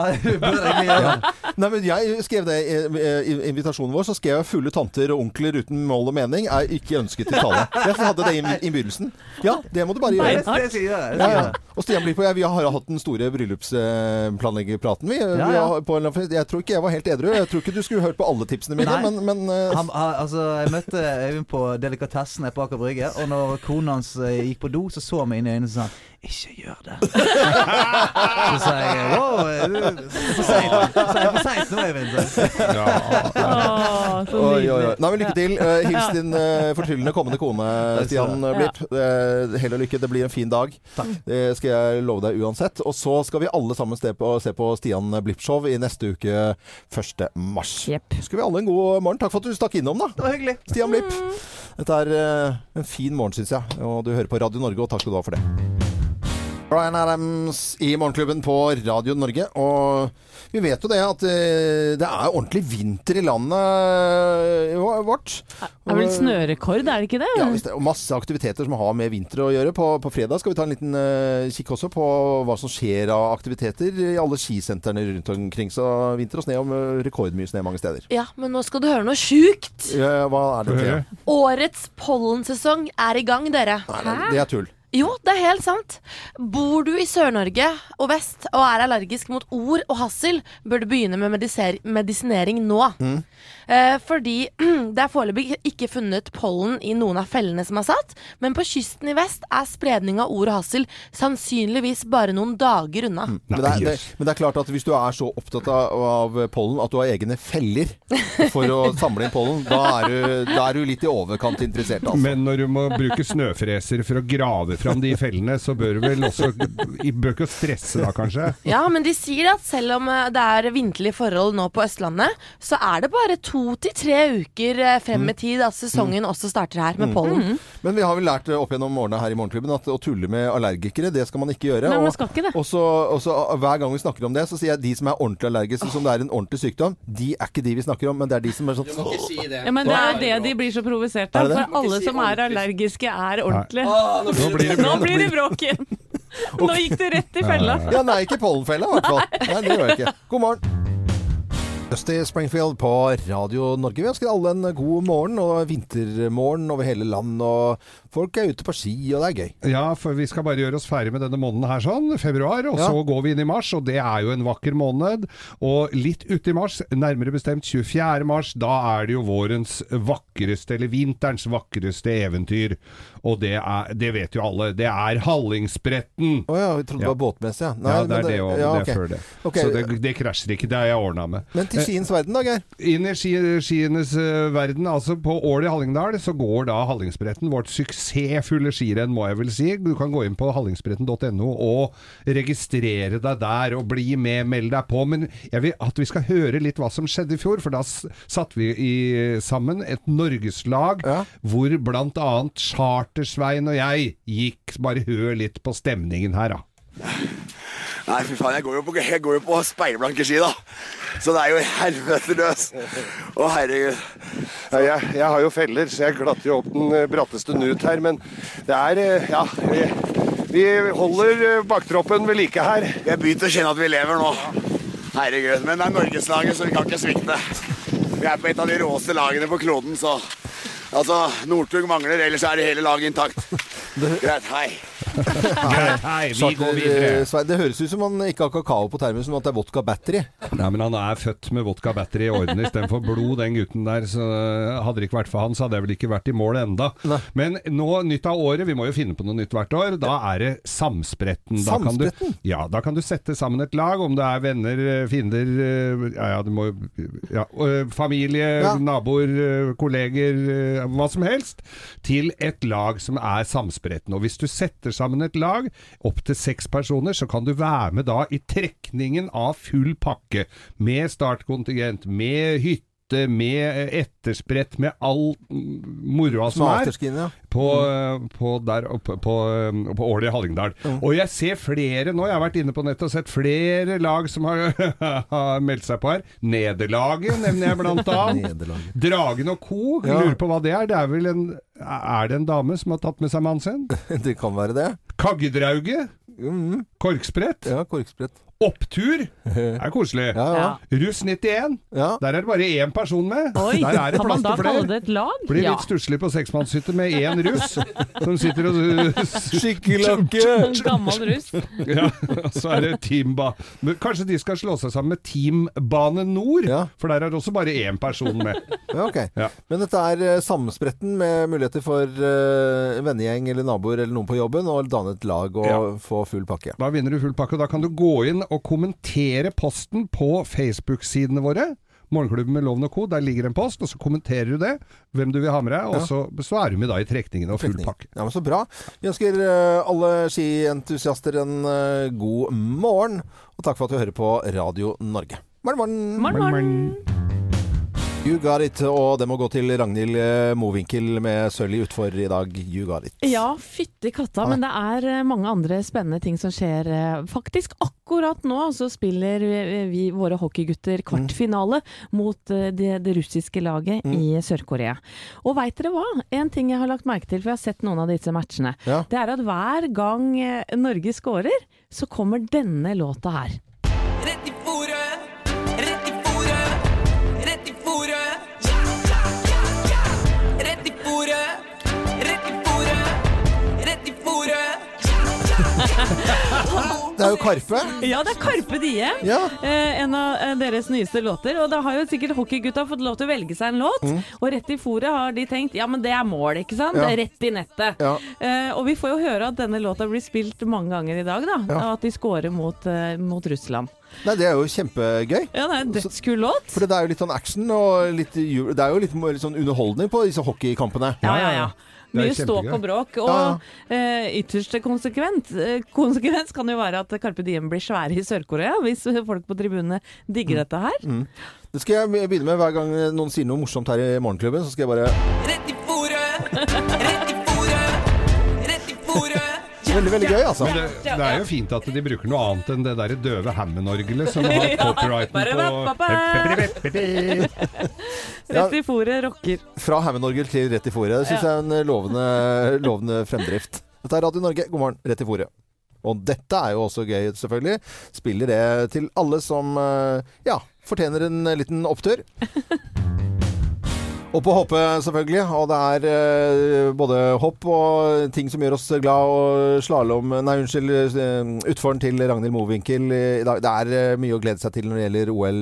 [SPEAKER 1] Ja. Nei, men jeg skrev det i eh, i invitasjonen vår, så skrev jeg 'fulle tanter og onkler uten mål og mening er ikke ønsket i tale'. Jeg hadde det i innby- innbydelsen. Ja, det må du bare
[SPEAKER 11] Nei,
[SPEAKER 1] gjøre.
[SPEAKER 11] det skal jeg si, ja, det skal
[SPEAKER 1] Ja,
[SPEAKER 11] jeg
[SPEAKER 1] ja.
[SPEAKER 11] gjøre.
[SPEAKER 1] Og Stian blir på jeg, Vi har hatt den store bryllupsplanleggerpraten, vi.
[SPEAKER 11] Ja,
[SPEAKER 1] vi
[SPEAKER 11] ja.
[SPEAKER 1] har, på en, eller annen fest. jeg tror ikke jeg var helt edru. Jeg tror ikke du skulle hørt på alle tipsene mine,
[SPEAKER 11] Nei.
[SPEAKER 1] men, men eh,
[SPEAKER 11] Han, han, altså, jeg møtte Øyvind på Delikatessen her på Aker Brygge, og når kona hans eh, gikk på do, så så han meg inn i øynene og sa han, 'ikke gjør det'. så sa jeg wow, er du- det er for seint. Så er jeg for seint nå, Øyvind.
[SPEAKER 2] Å, så
[SPEAKER 1] Oi, oi, oi.
[SPEAKER 2] nydelig.
[SPEAKER 1] Nei, men Lykke til. Eh, hils din uh, fortryllende kommende kone,
[SPEAKER 11] Takk skal
[SPEAKER 1] Stian
[SPEAKER 11] du ha.
[SPEAKER 1] Blipp. Eh, hell og lykke. Det blir en fin dag. Det skal jeg love deg uansett. Og så skal vi alle sammen se på, se på Stian Blipp-show i neste uke 1. mars. Yep. Skal vi alle en god morgen. Takk for at du stakk innom, da.
[SPEAKER 11] Det var hyggelig. Mm.
[SPEAKER 1] Stian Blipp. Dette er eh, en fin morgen, syns jeg. Og du hører på Radio Norge, og takk skal du ha for det. Bryan Adams i Morgenklubben på Radio Norge. Og vi vet jo det at eh, det er ordentlig vinter i landet eh, vårt.
[SPEAKER 2] Det er vel snørekord, er det ikke det?
[SPEAKER 1] Ja, visst det. og masse aktiviteter som har med vinter å gjøre. På, på fredag skal vi ta en liten eh, kikk også på hva som skjer av aktiviteter i alle skisentrene rundt omkring. Så vinter og snø, og eh, rekordmye snø mange steder.
[SPEAKER 3] Ja, men nå skal du høre noe sjukt.
[SPEAKER 1] Ja, hva er det? Thea?
[SPEAKER 3] Årets pollensesong er i gang, dere.
[SPEAKER 1] Det er tull.
[SPEAKER 3] Jo, det er helt sant. Bor du i Sør-Norge og vest og er allergisk mot or og hassel, bør du begynne med mediser- medisinering nå.
[SPEAKER 1] Mm.
[SPEAKER 3] Eh, fordi det er foreløpig ikke funnet pollen i noen av fellene som er satt, men på kysten i vest er spredning av or og hassel sannsynligvis bare noen dager unna.
[SPEAKER 1] Men det, er, det, men det er klart at hvis du er så opptatt av, av pollen at du har egne feller for å samle inn pollen, da er du, da er du litt i overkant interessert. Altså.
[SPEAKER 4] Men når du må bruke snøfreser for å grave fram de fellene, så bør du vel også I bør ikke å stresse da, kanskje?
[SPEAKER 3] Ja, men de sier at selv om eh, det er vinterlige forhold nå på Østlandet, så er det bare to til tre uker eh, frem i tid at sesongen også starter her med
[SPEAKER 1] Mm.
[SPEAKER 3] pollen.
[SPEAKER 1] Men vi har vel lært eh, opp gjennom årene her i Morgenklubben at å tulle med allergikere, det skal man ikke gjøre.
[SPEAKER 2] Nei, man
[SPEAKER 1] Og-
[SPEAKER 2] skal ikke det.
[SPEAKER 1] Og så, og så hver gang vi snakker om det, så sier jeg at de som er ordentlig allergiske, som det er en ordentlig sykdom, de er ikke de vi snakker om, men det er de som er sånn
[SPEAKER 2] Ja, men det er det de blir så provosert
[SPEAKER 1] Er
[SPEAKER 2] av.
[SPEAKER 1] det det?
[SPEAKER 2] For alle som er allergiske, er ordentlige.
[SPEAKER 1] Nei. Å, nå blir det bråk.
[SPEAKER 2] Nå blir det bråk igjen! Nå gikk det rett i fella.
[SPEAKER 1] Ja, nei, ikke pollenfella i hvert fall. Nei, det gjør jeg ikke. God morgen. Dusty Springfield på Radio Norge. Vi ønsker alle en god morgen og vintermorgen over hele land. Og folk er ute på ski, og det er gøy.
[SPEAKER 4] Ja, for vi skal bare gjøre oss ferdig med denne måneden her sånn, februar, og
[SPEAKER 1] Ja.
[SPEAKER 4] så går vi inn i mars, og det er jo en vakker måned. Og litt ute i mars, nærmere bestemt 24. mars, da er det jo vårens vakreste, eller vinterens vakreste eventyr. Og det, er, det vet jo alle, det er Hallingsbretten.
[SPEAKER 1] Å ja, vi trodde det var båtmesse, ja. Nei,
[SPEAKER 4] ja, det
[SPEAKER 1] men
[SPEAKER 4] er det
[SPEAKER 1] det-
[SPEAKER 4] òg.
[SPEAKER 1] ja,
[SPEAKER 4] Det
[SPEAKER 1] ok.
[SPEAKER 4] er før det.
[SPEAKER 1] Ok.
[SPEAKER 4] Så det, det krasjer ikke, det har jeg ordna med.
[SPEAKER 1] Men til
[SPEAKER 4] Eh,
[SPEAKER 1] skiens verden, da, Geir.
[SPEAKER 4] inn i ski, skienes eh, verden, altså på Ål i Hallingdal, så går da Hallingsbretten, vårt suksessfulle skirenn, må jeg vel si. Du kan gå inn på hallingsbretten.no og registrere deg der, og bli med, meld deg på. Men jeg vil at vi skal høre litt hva som skjedde i fjor, for da s- satte vi i, sammen et norgeslag hvor blant annet Chartersvein og jeg gikk. Bare hør litt på stemningen her, da.
[SPEAKER 12] Nei, fy faen, jeg går jo på, jeg går jo på speilblanke ski, da. Så det er jo helvete løs. Å, herregud.
[SPEAKER 13] Jeg, jeg har jo feller, så jeg glatter jo opp den eh, bratteste nut her, men det er eh, Ja. Vi, vi holder eh, baktroppen ved like her.
[SPEAKER 12] Jeg begynte å kjenne at vi lever nå. Herregud. Men det er Norgeslaget, så vi kan ikke svikte. Vi er på et av de råeste lagene på kloden, så Altså, Northug mangler, ellers er det hele laget intakt. Greit. Hei.
[SPEAKER 4] Greit, hei, vi
[SPEAKER 1] Charter,
[SPEAKER 4] går videre.
[SPEAKER 1] eh, Svein, Det høres ut som han ikke har kakao på termen, som at det er vodka battery.
[SPEAKER 4] Nei, men han er født med vodka battery i årene istedenfor blod, den gutten der. Så eh, hadde det ikke vært for han, så hadde jeg vel ikke vært i mål enda. Men nå, nytt av året, vi må jo finne på noe nytt hvert år. Da er det Samspretten. Da kan du-
[SPEAKER 1] Samspretten?
[SPEAKER 4] ja, da kan du sette sammen et lag, om det er venner, eh, fiender eh, Ja, ja, du må ja, eh, Familie,
[SPEAKER 1] Ja.
[SPEAKER 4] naboer, eh, kolleger, eh, hva som helst. Til et lag som er samspretten. Og hvis du setter sammen et lag, opptil seks personer, så kan du være med da i trekningen av full pakke. Med startkontingent, med hytte. bøtte med eh, ettersprett med all mm, moroa som
[SPEAKER 1] Som
[SPEAKER 4] er
[SPEAKER 1] afterskin, ja.
[SPEAKER 4] på, eh, på der oppe på, eh, på Ål i Hallingdal. Og jeg ser flere nå, jeg har vært inne på nettet og sett flere lag som har, har meldt seg på her. Nederlaget nevner jeg blant annet. Dragen og co.
[SPEAKER 1] Ja.
[SPEAKER 4] Lurer på hva det er. Det er vel en Er det en dame som har tatt med seg mannen sin?
[SPEAKER 1] Det kan være det.
[SPEAKER 4] Kaggedrauget.
[SPEAKER 1] Mm.
[SPEAKER 4] Korksprett. Opptur. Det er koselig.
[SPEAKER 1] ja.
[SPEAKER 4] Russ 91. Der er det bare én person med.
[SPEAKER 2] Oi,
[SPEAKER 4] Der er det
[SPEAKER 2] kan man
[SPEAKER 4] plass
[SPEAKER 2] da
[SPEAKER 4] til flere.
[SPEAKER 2] kalle det et lag?
[SPEAKER 4] Blir
[SPEAKER 2] Ja.
[SPEAKER 4] litt stusslig på seksmannshytte med én russ som sitter og
[SPEAKER 2] En gammel russ.
[SPEAKER 4] Ja, og så er det Teamba. Men Kanskje de skal slå seg sammen med Team Bane Nor, for der er det også bare én person med.
[SPEAKER 1] Ja, ok.
[SPEAKER 4] Ja.
[SPEAKER 1] Men dette er eh, sammenspretten med muligheter for eh, en vennegjeng eller naboer eller noen på jobben å danne et lag og få full pakke.
[SPEAKER 4] Da vinner du full pakke, og da kan du gå inn og kommentere posten på Facebook-sidene våre. Morgenklubben med Loven og Co. Der ligger en post, og så kommenterer du det. Hvem du vil ha med deg, og
[SPEAKER 1] Ja.
[SPEAKER 4] så, så er du med da i trekningen og full pakke.
[SPEAKER 1] Ja, men Så bra. Vi ønsker eh, alle skientusiaster en eh, god morgen, og takk for at du hører på Radio Norge. Morgen, morgen. You got it, og det må gå til Ragnhild eh, Mowinckel med sølv i utfor i dag. You got it.
[SPEAKER 2] Ja, fytti katta, men det er eh, mange andre spennende ting som skjer. eh, Faktisk akkurat nå så spiller eh, vi våre hockeygutter kvartfinale mot eh, det, det russiske laget i Sør-Korea. Og veit dere hva? En ting jeg har lagt merke til, for jeg har sett noen av disse matchene, det er at hver gang eh, Norge scorer, så kommer denne låta her.
[SPEAKER 7] Rett i fòret, rett i fòret, rett i fòret. Ja, ja, ja, ja. Rett i fòret, rett i fòret, rett i fòret.
[SPEAKER 1] Det er jo Karpe.
[SPEAKER 2] Ja, det er Karpe Diem. Eh, en av eh, deres nyeste låter. Og da har jo sikkert hockeygutta fått lov til å velge seg en låt.
[SPEAKER 7] Mm.
[SPEAKER 2] Og rett i fòret har de tenkt ja, men det er mål, ikke sant?
[SPEAKER 7] Ja.
[SPEAKER 2] Det er Rett i nettet.
[SPEAKER 7] Ja.
[SPEAKER 2] Eh, og vi får jo høre at denne låta blir spilt mange ganger i dag, da. Og at de scorer mot, eh, mot Russland.
[SPEAKER 1] Nei, det er jo kjempegøy.
[SPEAKER 2] Ja, det er en dødskul låt.
[SPEAKER 1] For det er jo litt sånn action, og litt, ju- det er jo litt, litt sånn underholdning på disse hockeykampene.
[SPEAKER 2] Ja, ja, ja. Mye ståk og bråk. Og
[SPEAKER 1] Ja,
[SPEAKER 2] eh, ytterste konsekvent, eh, konsekvens kan jo være at Karpe Diem blir svære i Sør-Korea, hvis folk på tribunene digger dette her.
[SPEAKER 1] Mm. Det skal jeg be- begynne med hver gang noen sier noe morsomt her i morgenklubben. Så skal jeg bare
[SPEAKER 7] Rett i fòret, rett i fòret, rett i fòret.
[SPEAKER 1] Veldig, veldig gøy, altså.
[SPEAKER 4] Men det, det er jo fint at de bruker noe annet enn det derre døve Hammond-orgelet som har
[SPEAKER 2] Ja.
[SPEAKER 4] copyrighten på
[SPEAKER 1] Ja.
[SPEAKER 2] Rett i fòret rocker.
[SPEAKER 1] Fra Hammond-orgel til rett i fòret. Det syns jeg er en lovende, lovende fremdrift. Dette er Radio Norge, god morgen, rett i fòret. Og dette er jo også gøy, selvfølgelig. Spiller det til alle som eh, ja, fortjener en liten opptur. Opp og hoppe, selvfølgelig. Og det er eh, både hopp og ting som gjør oss glad, og slalåm Nei, unnskyld. eh, Utforen til Ragnhild Mowinckel i dag. Det er eh, mye å glede seg til når det gjelder OL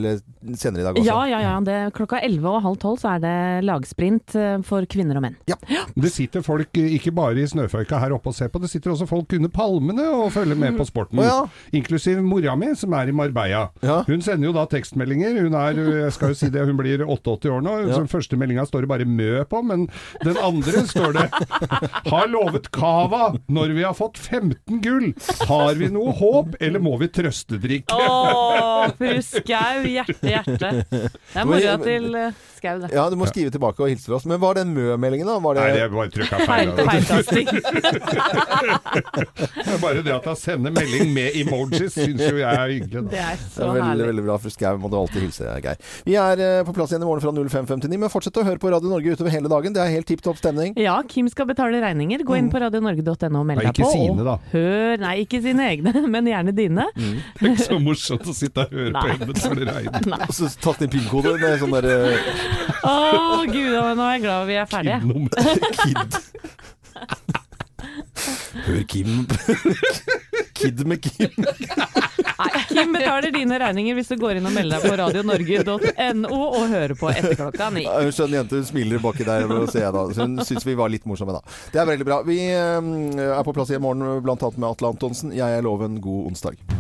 [SPEAKER 1] senere i dag også.
[SPEAKER 2] Ja, ja, ja. Det, klokka 11 og halv 12 så er det lagsprint eh, for kvinner og menn.
[SPEAKER 4] Det sitter folk eh, ikke bare i snøføyka her oppe og ser på, det sitter også folk under palmene og følger med på sporten.
[SPEAKER 1] Å ja.
[SPEAKER 4] Inklusiv mora mi, som er i Marbella. Hun sender jo da tekstmeldinger. Hun er, eh, jeg skal jo si det, hun blir 88 år nå.
[SPEAKER 1] Ja.
[SPEAKER 4] Så Den første meldinga står det bare 'mø' på, men den andre står det 'Har lovet Cava når vi har fått 15 gull'. Har vi noe håp, eller må vi trøstedrikke?
[SPEAKER 2] Å, fru Skau, hjerte, hjerte. Det er mora til eh, Skau, det.
[SPEAKER 1] Ja, du må skrive tilbake og hilse fra oss. Men var den Mø-meldingen, da? Var det...
[SPEAKER 4] Nei, det er bare trykket feil. Feil- Det er Bare det at jeg sender melding med emojis, syns jo jeg er hyggelig.
[SPEAKER 2] Det er
[SPEAKER 1] Det er veldig, veldig bra. Fru Skau må du alltid hilse, Geir. Vi er eh, på plass igjen i morgen fra 05.59, men fortsett å høre på Radio Norge utover hele dagen. Det er helt tipp topp stemning.
[SPEAKER 2] Ja, Kim skal betale regninger. Gå inn på radionorge.no og meld
[SPEAKER 1] Nei,
[SPEAKER 2] deg
[SPEAKER 1] ikke
[SPEAKER 2] på.
[SPEAKER 1] sine,
[SPEAKER 2] og
[SPEAKER 1] da. Mm.
[SPEAKER 2] Hør, nei, ikke sine egne, men gjerne dine.
[SPEAKER 4] Det er ikke så morsomt å sitte og høre på
[SPEAKER 2] Nei.
[SPEAKER 4] hjemme når det regner.
[SPEAKER 1] Og så tatt inn PIN-kode med sånn der eh,
[SPEAKER 2] Å, gud, nå er jeg glad vi er ferdige.
[SPEAKER 1] Hør Kim Kid med Kim.
[SPEAKER 2] Nei, Kim betaler dine regninger hvis du går inn og melder deg på radionorge.no og hører på etter klokka ni.
[SPEAKER 1] Ja, Hun skjønner jente, hun smiler baki der. og ser jeg da. Så Hun syns vi var litt morsomme, da. Det er veldig bra. Vi eh, er på plass igjen i morgen, blant annet med Atle Antonsen. Jeg er Loven. God onsdag.